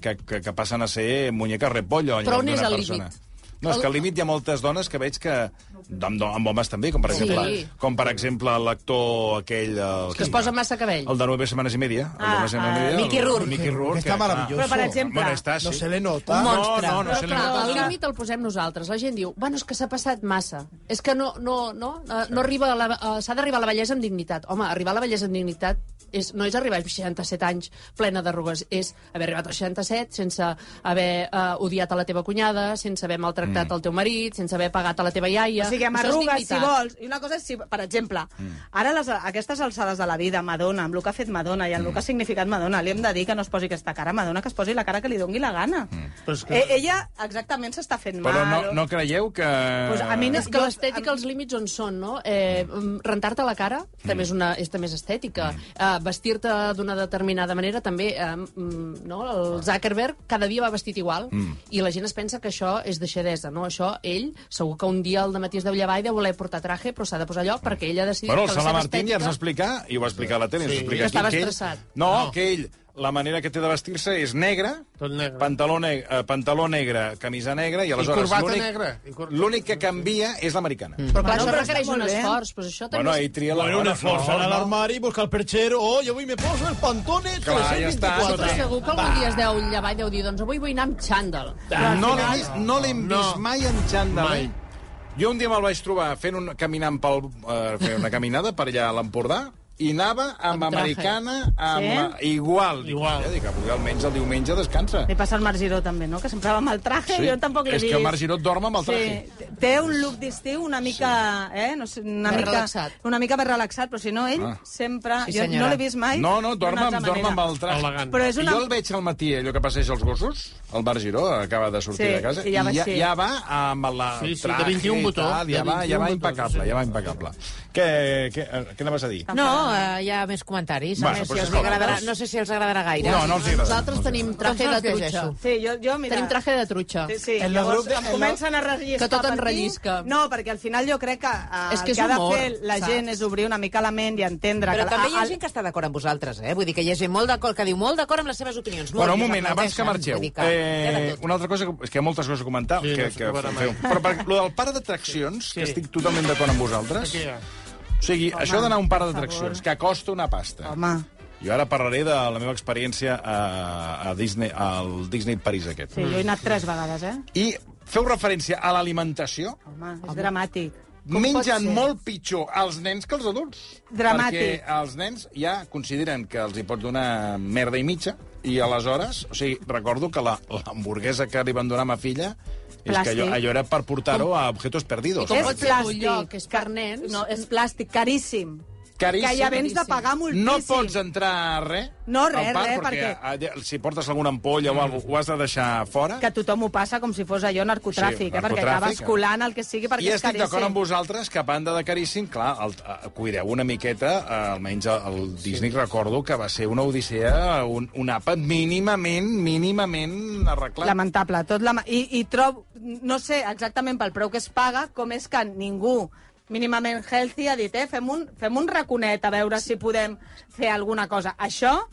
que, que, que passen a ser muñeca repollo. en
Però on
lloc
és
d'una
el
persona.
límit?
No, és que al límit hi ha moltes dones que veig que... Amb, do- amb homes també, com per
Sí.
exemple, com per exemple l'actor aquell... El,
Que es posa massa cabell.
El de 9 setmanes i media. El de
Ah,
Nueve setmanes i
ah,
media, el-
Mickey Rourke.
Mickey Rourke.
Està
que- ah,
meravelloso.
Però, per exemple,
Bueno, està, sí.
No se le nota.
Un monstre.
No, no, no
Però,
se li
clar,
nota.
el límit el posem nosaltres. La gent diu, bueno, és que s'ha passat massa. És que no, no, no, eh, no arriba a la, eh, s'ha d'arribar a la bellesa amb dignitat. Home, arribar a la bellesa amb dignitat és, no és arribar als 67 anys plena d'arrugues, és haver arribat als 67 sense haver eh, odiat a la teva cunyada, sense haver maltractat mm. el teu marit, sense haver pagat a la teva iaia.
O sigui, amb
Això és
arrugues, si
dignitat.
vols. I una cosa és, si, per exemple,
Mm.
ara les, aquestes alçades de la vida, Madonna, amb el que ha fet Madonna i amb
Mm.
el que ha significat Madonna, li hem de dir que no es posi aquesta cara a Madonna, que es posi la cara que li dongui la gana.
Però és que-
Eh, ella exactament s'està fent
Mm. Però
mal.
no, no creieu que...
Pues a mi no-
És que
Jo-
l'estètica, els límits on són, no? Eh, mm, Rentar-te la cara també és, una, és, també és estètica. Eh, Vestir-te d'una determinada manera també... Eh, mm, no? El Zuckerberg cada dia va vestit igual i la gent es pensa que això és deixadesa, no? Això, ell, segur que un dia al matí es deu llevar i deu voler portar traje, però s'ha de posar allò perquè ell ha decidit
Bueno, el
que la
Sala
seva
Martín ja
estètica...
ens va explicar, i ho va explicar a la tele, ens ho explica
Que
aquí,
estava
que
estressat.
ell... No, que ell, la manera que té de vestir-se és negre,
Tot negre.
pantaló, neg eh, pantaló negre, camisa negra, i aleshores
corbata
l'únic-
negra, i cor-
l'únic que canvia és l'americana.
Mm. Però clar,
Bueno,
això
però
requereix
està
un
molt bé.
esforç, però això també
Bueno, ell
és...
tria la
Bueno, un
hora,
esforç
no,
anar a
no.
l'armari, buscar el perchero... Oh, jo avui me poso els pantones...
Clar, ja està, no
Però
té-
324.
segur que algun dia es deu llevar i deu dir, doncs avui vull anar amb xandall.
Doncs No l'he vist, no l'hem
No.
vist mai en xandall. eh, Jo un dia me'l vaig trobar fent un, caminant pel, eh, fent una caminada per allà a l'Empordà, i anava amb,
Amb traje.
americana, amb... Sí? Igual. Igual. Eh, dic, potser almenys el diumenge descansa.
Li passa al Marc Giró, també, no? Que sempre va amb el traje,
Sí.
jo tampoc l'he
És
vist.
que el Marc Giró dorm amb el traje.
Sí. Té un look d'estiu una mica... Sí. Eh? No sé, una
Més
mica,
relaxat.
Una mica més relaxat, però si no, ell
Ah.
ah. sempre...
Sí,
jo
senyora.
no l'he vist mai.
No, no, dorm,
d'una altra
amb, dorm
manera.
amb el traje.
Però és una...
I jo el veig al matí, allò que passeja els gossos, el Bar Giró, acaba de sortir
Sí,
de casa,
i ja va
ja,
ser.
ja va amb la
Sí, sí, de
traje
21
i
botó,
tal, ja
de
va, ja
21
va
botó,
impecable, ja va impecable. Què, què, eh, què anaves a dir?
No, eh, hi ha més comentaris.
Bueno,
a més,
doncs
si els
escolta,
agradarà,
doncs-
no sé si els agradarà gaire.
No, no els agradarà.
Nosaltres tenim traje de
Doncs no els
trutxa.
llegeixo.
Sí, jo, jo, mira...
Tenim traje de trutxa.
Sí, sí.
En lo
Llavors
grup de-
em
en lo-
comencen a relliscar.
Que tot em
per aquí.
rellisca.
No, perquè al final jo crec que eh,
És que
el
és
que ha de
humor,
fer la
saps?
gent és obrir una mica la ment i entendre
Però
que...
també hi ha
el-
gent que està d'acord amb vosaltres, eh? Vull dir que hi ha gent molt d'acord, que diu molt d'acord amb les seves opinions. Molt,
Bueno, un
i les
moment, abans que
aplaudeixen.
marxeu,
Vull dir que hi ha de
eh,
tot.
una altra cosa, que, és que hi ha moltes coses a comentar,
Sí,
que,
no
que
s'acabarà
feu.
mai.
Però per, lo del parc d'atraccions, sí. que estic totalment d'acord amb vosaltres,
Aquí, ja.
o sigui, Home, això d'anar a un parc d'atraccions, que costa una pasta.
Home,
Jo ara parlaré de la meva experiència a, a Disney, al Disney París aquest. Mm.
sí, jo he anat tres vegades, eh?
I feu referència a l'alimentació,
Home, és dramàtic.
mengen molt pitjor els nens que els adults.
Dramàtic.
Perquè els nens ja consideren que els hi pot donar merda i mitja, i aleshores, o sigui, recordo que la- l'hamburguesa que li van donar a ma filla és que
Plàstic.
allò, allò era per portar-ho a Objetos Perdidos.
Com
Per
pot ser
exemple.
un lloc que és per nens?
No, és plàstic, caríssim.
Caríssim.
Que ja vens de pagar moltíssim.
No pots entrar a res.
No, res,
al parc,
res,
perquè...
perquè-
allà, Si portes alguna ampolla o alguna ho has de deixar fora.
que tothom ho passa com si fos allò narcotràfic,
Sí,
eh? perquè
narcotràfic,
acabes
eh?
colant el que sigui perquè
I
és
estic
caríssim.
d'acord amb vosaltres que, a banda de caríssim, clar, el, eh, cuideu una miqueta, eh, almenys el, el Disney recordo que va ser una odissea, un, un àpat mínimament, mínimament arreglat.
Lamentable. Tot la... I, I trob, no sé exactament pel preu que es paga, com és que ningú mínimament healthy ha dit, eh, fem un, fem un raconet a veure si podem fer alguna cosa. Això,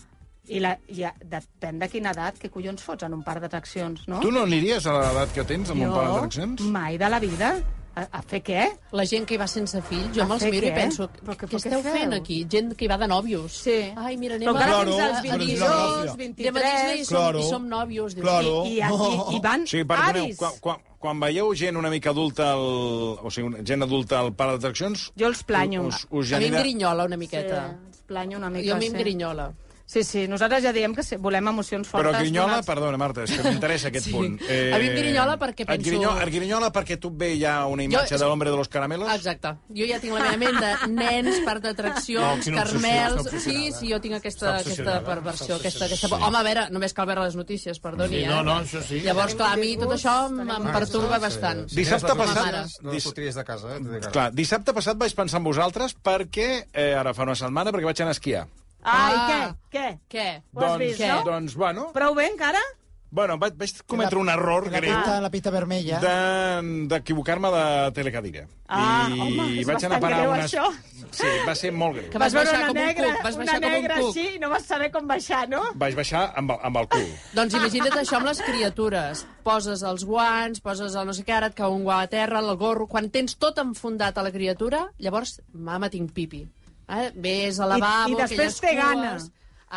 i, la, i a, depèn de quina edat, que collons fots en un parc d'atraccions, no?
Tu no aniries a l'edat que tens amb un parc d'atraccions?
Mm.
Jo, mai de la vida. A, a fer què?
La gent que hi va sense fills, jo
A
me'ls
fer
miro
què?
i penso, però què,
però
què esteu
què feu?
fent aquí? Gent que hi va de nòvios. Sí. Ai, mira, anem
Però encara
a...
Claro, fins als però és la 22, gràcia. 23.
Anem a Disney i som,
Claro.
i som nòvios. Dius,
Claro. Oh,
I,
I, i, i van
Sí, perdoneu,
aris.
quan, quan, quan veieu gent una mica adulta, al, o sigui, una- gent adulta al parc d'atraccions...
Jo els planyo.
Us, us
a mi em
genera...
grinyola una miqueta.
Sí, planyo una mica.
Jo a mi em
sí.
grinyola.
Sí, sí, nosaltres ja diem que sí, volem emocions fortes.
Però grinyola,
donats-
perdona, Marta, és que m'interessa aquest
Sí.
punt. Eh,
A mi em grinyola perquè
Et
penso-
grinyola, et grinyola perquè tu et ve ja una imatge
és-
de l'hombre de los caramelos?
Ah, Exacte. Jo ja tinc la meva ment de nens, parc d'atraccions,
No, quina obsessió, està
carmels... Sí,
obsessionada.
sí, jo tinc
Està
aquesta, aquesta
obsessionada,
perversió,
està
aquesta, aquesta...
obsessionada.
Home, a veure, només cal veure les notícies, perdoni,
Sí,
eh?
no, no, això sí.
Llavors, clar, a mi tot això em em
Ah,
perturba
sí,
bastant.
sí.
Dissabte
Nens, les
passat-
dones, No les fotries de casa, eh? De
Clar, dissabte passat vaig pensar en vosaltres perquè, eh, ara fa una setmana, perquè vaig anar a esquiar.
Ai,
Ah.
què? Què?
Què?
Ho has
doncs,
vist, no?
doncs, bueno,
Prou bé, encara?
bueno vaig, vaig cometre un error
La
greu
pista, la pista vermella.
de- d'equivocar-me de, telecadira.
Ah, home, és bastant greu, això.
Sí, va ser molt greu.
Que vas baixar com un cuc, vas baixar
una
com un
negra
cuc.
així i no vas saber com baixar, no?
Vaig baixar amb, el- amb el cul.
Doncs imagina't això amb les criatures. Poses els guants, poses el no sé què, ara et cau un guant a terra, el gorro... Quan tens tot enfondat a la criatura, llavors, mama, tinc pipi. Eh? Ves a lavabo...
I- i després
aquelles
té
cues.
gana.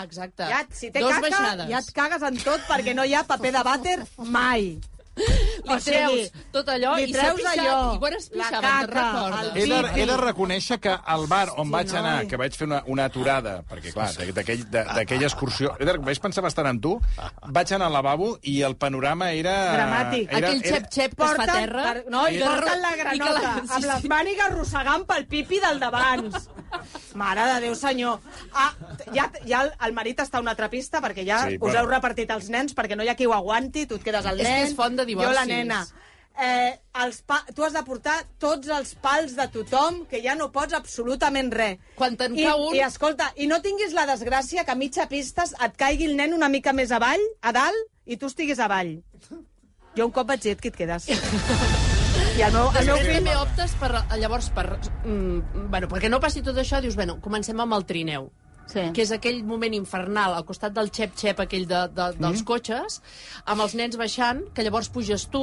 Exacte.
Ja, si té
Dos
caca,
baixades.
ja et cagues en tot perquè no hi ha paper de vàter mai.
Li treus tot allò
li
i s'ha
treus
pixat,
allò,
i quan es
la
pixava, te'n
caca,
recordes?
He
el
de,
pipi.
he de reconèixer que al bar on
Sí,
vaig
noi.
anar, que vaig fer una, una aturada, perquè, clar, d'aquell- de- d'aquella excursió... He de, vaig pensar bastant en tu, vaig anar al lavabo i el panorama era...
Dramàtic.
Era,
Aquell xep-xep que es fa a
Porten-
terra...
per- no, i
que
porten
ro-
la
i que
granota,
sí,
amb les
sí.
mànigues arrossegant pel pipi del d'abans. Mare de Déu, senyor. Ah, ja, ja el, el marit està a una altra pista perquè ja
Sí,
sí, us
bueno.
bueno. heu repartit els nens perquè no hi ha qui ho aguanti, tu et quedes al
És
nen,
que és font de
jo la
divorcis.
nena. Eh, els pa... Tu has de portar tots els pals de tothom, que ja no pots absolutament res.
Quan te'n
I,
cau un-
I escolta, i no tinguis la desgràcia que a mitja pistes et caigui el nen una mica més avall, a dalt, i tu estiguis avall. Jo un cop vaig dir que et quedes. I el meu, el meu
Després
fill...
també optes per, eh, llavors, per, mm, bueno, perquè no passi tot això, dius, bueno, comencem amb el trineu.
Sí.
que és aquell moment infernal al costat del xep-xep aquell de, de, dels mm. cotxes, amb els nens baixant, que llavors puges tu,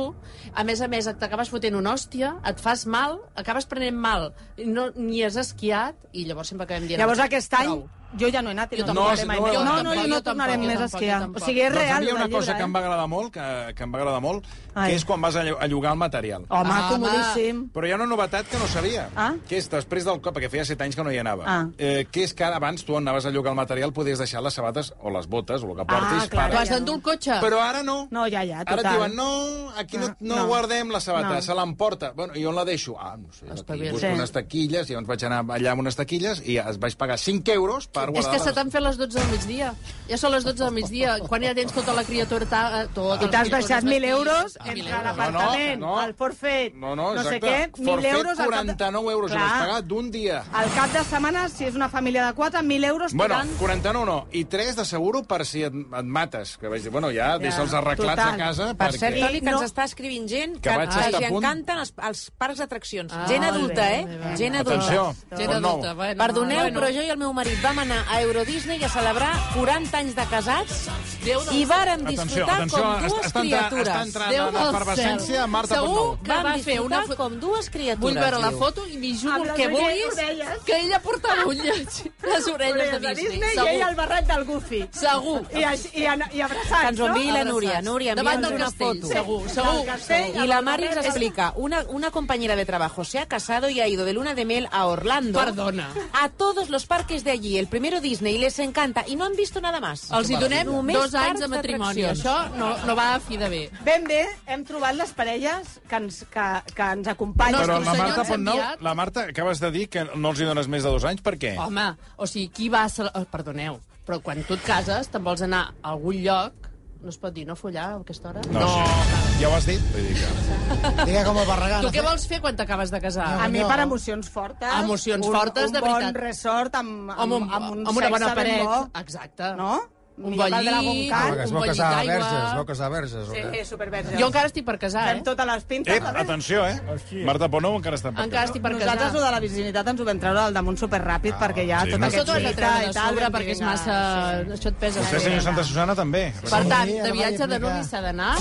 a més a més et acabes fotent una hòstia, et fas mal, acabes prenent mal, no, ni has esquiat, i llavors sempre acabem dient...
Llavors aquest any
Prou.
Jo ja no he anat i
Jo
no,
tampoc.
tornaré mai
No,
més.
jo
No, no,
tampoc,
jo
jo
no tornarem
tampoc,
més
jo
a
tampoc,
esquiar. O sigui, és
doncs
real.
havia una
del
cosa
llibre, eh?
que em va agradar molt, que, que em va agradar molt, que és quan vas a, llo- a llogar el material.
Home, Ah, comodíssim.
Però hi ha una novetat que no sabia,
Ah.
que és després del cop, perquè feia 7 anys que no hi anava,
Ah.
eh, que és que ara abans tu on anaves a llogar el material podies deixar les sabates o les botes o el que
Ah,
portis.
clar,
per-
Ho has d'endur el cotxe.
Però ara no.
No, ja, ja,
Ara
total.
et diuen, no, aquí no, no,
no.
guardem la sabata,
No.
se l'emporta. Bueno, I on la deixo? Ah, no sé, aquí
bé.
busco
Sí.
unes taquilles, i llavors vaig anar allà amb unes taquilles i es vaig pagar 5 euros per
És
guardar
que se
les...
t'han fet les 12 del migdia. Ja són les 12 del migdia. Quan ja tens tota la criatura... Ta, tota
I t'has deixat 1.000 euros
Ah,
Ah,
entre l'apartament,
No, no, no.
el forfet,
No, no,
no sé
exacte.
què, 1.000
Forfet,
euros... al cap de-
49 euros
Clar. Ah,
Clar. vas pagar d'un dia. Ah,
Al cap de setmana, si és una família de 4, 1.000 euros
Bueno,
tirant...
49 no, i 3 de seguro per si et, et mates. Que vaig dir, bueno, ja, ja deixa'ls arreglats
Total.
a casa.
Per cert,
perquè...
Toni, que ens està escrivint gent que,
Que vaig
que
estar a
els
punt.
encanten els, els parcs d'atraccions.
Ah,
gent
molt
adulta,
bé, molt
eh?
bé.
Gent adulta.
Atenció, Gent Portnou. adulta,
bueno,
Perdoneu,
bueno.
però jo i el meu marit vam anar a Euro Disney a celebrar 40 anys de casats
Déu del
i vàrem
Atenció,
disfrutar
atenció,
com dues
està- està entrant-
criatures.
està entrant
Déu
en
del
efervescència,
cel.
Marta
Segur
Portnou.
que va
vam
fer una...
disfrutar
fo-
com dues criatures.
Vull veure la
diu.
foto i m'hi
Amb
jugo el
les
que
orelles- orelles.
vulguis que ella portava un lleig. Les orelles de
Orelles
Disney,
I ell
segur.
el barret del Goofy.
Segur.
I, així- i, an- i abraçats,
Que ens ho enviï la
no?
Núria. Núria,
Davant
envia'ns
del
una
castell,
foto.
segur, segur,
Del castell,
segur.
Y la Mari nos explica, una, una compañera de trabajo se ha casado y ha ido de luna de miel a Orlando.
Perdona.
A todos los parques de allí, el primero Disney, les encanta y no han visto nada más.
Els hi donem
Només
dos anys
parcs
de matrimoni.
d'atraccions.
Això no, no va a fi de bé.
Ben bé, hem trobat les parelles que ens, que, que ens acompanyen.
Però
Nostre
la
senyor
Marta,
ens ha
Pontnou,
enviat-
la Marta, acabes de dir que no els hi dones més de dos anys, per què?
Home, o sigui, qui va a... Cel- eh, Perdoneu, però quan tu et cases te'n vols anar a algun lloc no es pot dir no follar a aquesta hora?
sí. Ja ho has dit? Vull dir que...
Diga como Barragán.
Tu què vols fer quan t'acabes de casar?
A mi per emocions fortes.
Emocions
un,
fortes,
un
de
Un
veritat.
bon resort amb, amb,
Amb, un,
amb, un
amb una bona
sexe ben
paret.
bo.
Exacte.
No?
Un
Millor que el
vellí,
Dragon Khan.
Perquè es
un
vau
bollit
casar a
d'aigua.
verges, es vau casar a verges. o
Sí,
què?
sí, superverge.
Jo encara estic per casar,
Fem
eh?
totes les pintes.
Ep,
a veure.
atenció, eh? Marta Ponou encara està en
Encara estic per casar.
Nosaltres, ho de la virginitat, ens ho vam treure del damunt superràpid, ah, perquè ja
sí,
tot
no,
aquest
Això t'ho has de
fita
treure de
i tal,
sobre
vam dir,
perquè és
vinga,
massa... Això et pesa.
Vostè, senyor Santa Susana, també.
Per tant,
Sí, ara
de
vaig
viatge de
explicar.
numi s'ha d'anar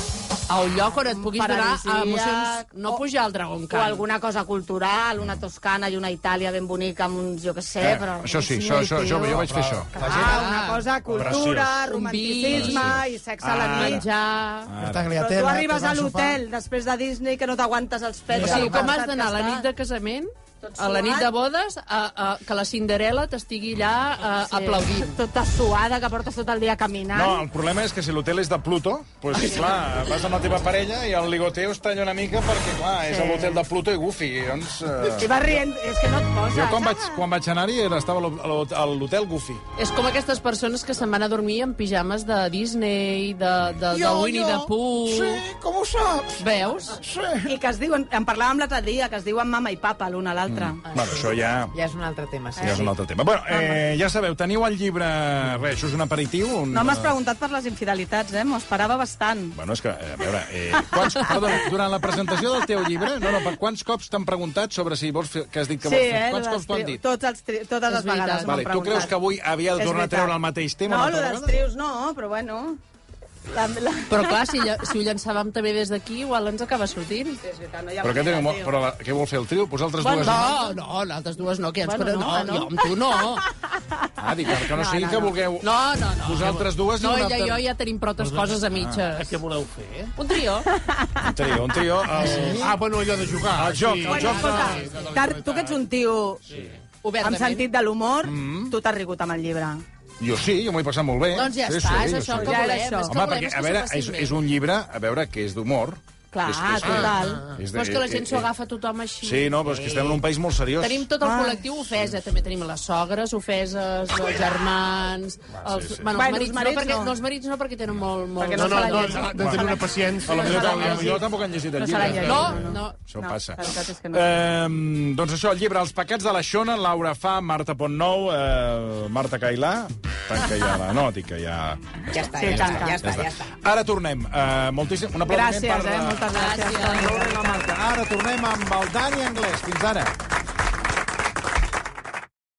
a un lloc on et puguis donar
paradisíac,
emocions... No
o-
pujar al Dragon
o
Khan.
alguna cosa cultural, una Toscana i una Itàlia ben bonica amb uns, jo què sé,
Eh,
però...
això sí, això, això, jo, jo vaig fer això.
Ah, una cosa, cultura,
Preciós.
romanticisme i sexe a la
Ara.
nit.
Menjar...
Los
Però
tagliatelles,
tu arribes
tocar
a
el sofà.
l'hotel després de Disney que no t'aguantes els
O
pets.
sigui, com has d'anar a la nit de casament,
Tot
a la nit
suat.
de bodes, a, a, que la Cinderella t'estigui allà a, aplaudint.
Tota suada, que portes tot el dia caminant.
No, el problema és que si l'hotel és de Pluto, doncs, clar, vas amb la teva parella i el ligoteo es talla una mica perquè, clar, és
Sí.
a l'hotel de Pluto i Goofy. i Doncs,
I
eh...
vas rient, és que no et poses.
Jo quan vaig,
ah.
quan vaig anar-hi era- estava a l'ho- a l'ho- a l'hotel Goofy.
És com aquestes persones que se'n van a dormir en pijames de Disney, de, de, de Winnie the Pooh... Sí, com ho saps? Veus?
I que es diuen, en parlàvem l'altre dia, que es diuen mama i papa l'un a l'altre. Mm.
Bueno, això ja...
Ja és un altre tema, sí.
Ja és un altre tema. Bueno, eh, ja sabeu, teniu el llibre... Res, això és un aperitiu? Un...
No m'has preguntat per les infidelitats, eh? M'ho esperava bastant.
Bueno, és que, eh, a veure, eh, quants, perdona, durant la presentació del teu llibre, no, no, per quants cops t'han preguntat sobre si vols fer, que has dit que vols
eh,
fer? Quants
les
cops t'ho
eh? tri-
han dit?
Tots els tri... Totes les
veritat.
vegades m'han
Vale, tu
preguntat.
creus que avui havia de
És
tornar a
veritat.
treure el mateix tema
No,
una
lo
altra
dels
vegada?
trios no, però bueno... La, la...
Però clar, si, lla- si ho llançàvem també des d'aquí, igual ens acaba sortint.
És veritat, no hi ha
Però, què,
manera,
teniu, mo-
tio.
però la, què vol fer el trio? Vosaltres
Bueno,
dues...
no, no, nosaltres dues no, que ens
Bueno,
bueno, no, no,
no, no.
jo amb tu no.
Ah, dic, que no, sigui que vulgueu...
No, no, no.
Vosaltres dues i
No,
un
ella i
altre-
jo ja tenim protes coses a mitges.
Què voleu fer?
Un trio.
Un trio, un trio... El,
Ah, bueno, allò de jugar.
el joc, el
Bueno,
joc...
escolta, tar- tu que ets un tio amb
Obertament.
sentit de l'humor,
Mm.
tu t'has rigut amb el llibre.
Jo sí, jo m'ho he passat molt bé.
Doncs ja
Sí,
està,
sí,
és
jo
això
sí.
que
Ja era
volem.
això.
És que
Home,
volem
perquè,
és que
a
s'ho
veure,
passin
és,
bé.
és un llibre, a veure, que és d'humor.
Clar,
és, és,
total.
És, eh,
Però és que la gent s'ho agafa tothom així.
Sí, no, però és que estem en un país molt seriós.
Tenim tot el
Ah.
col·lectiu ofès, eh? també tenim les sogres ofeses, els germans, els,
Ah, sí, sí.
Bueno, els,
Bueno,
marits, no, perquè, no. els marits no, perquè tenen molt... molt...
Perquè
No, no,
se la
no,
llegeixen.
no, de tenir una paciència.
A la millor,
se l'ha
a la
llegit.
millor tampoc han llegit el
No se l'ha
llibre.
llegit.
No, no.
Això
No,
passa.
la veritat és que no.
Eh, doncs això, el llibre Els pecats de la Xona, Laura Fa, Marta Pontnou, eh, Marta Cailà... Tanca ja la nota i que ja...
Ja està,
Sí,
ja,
tanca.
està, ja està, ja està.
Ara tornem. Eh, moltíssim... Un aplaudiment
Gràcies,
per...
eh? Moltes gràcies.
Ara tornem amb el Dani Anglès. Fins ara.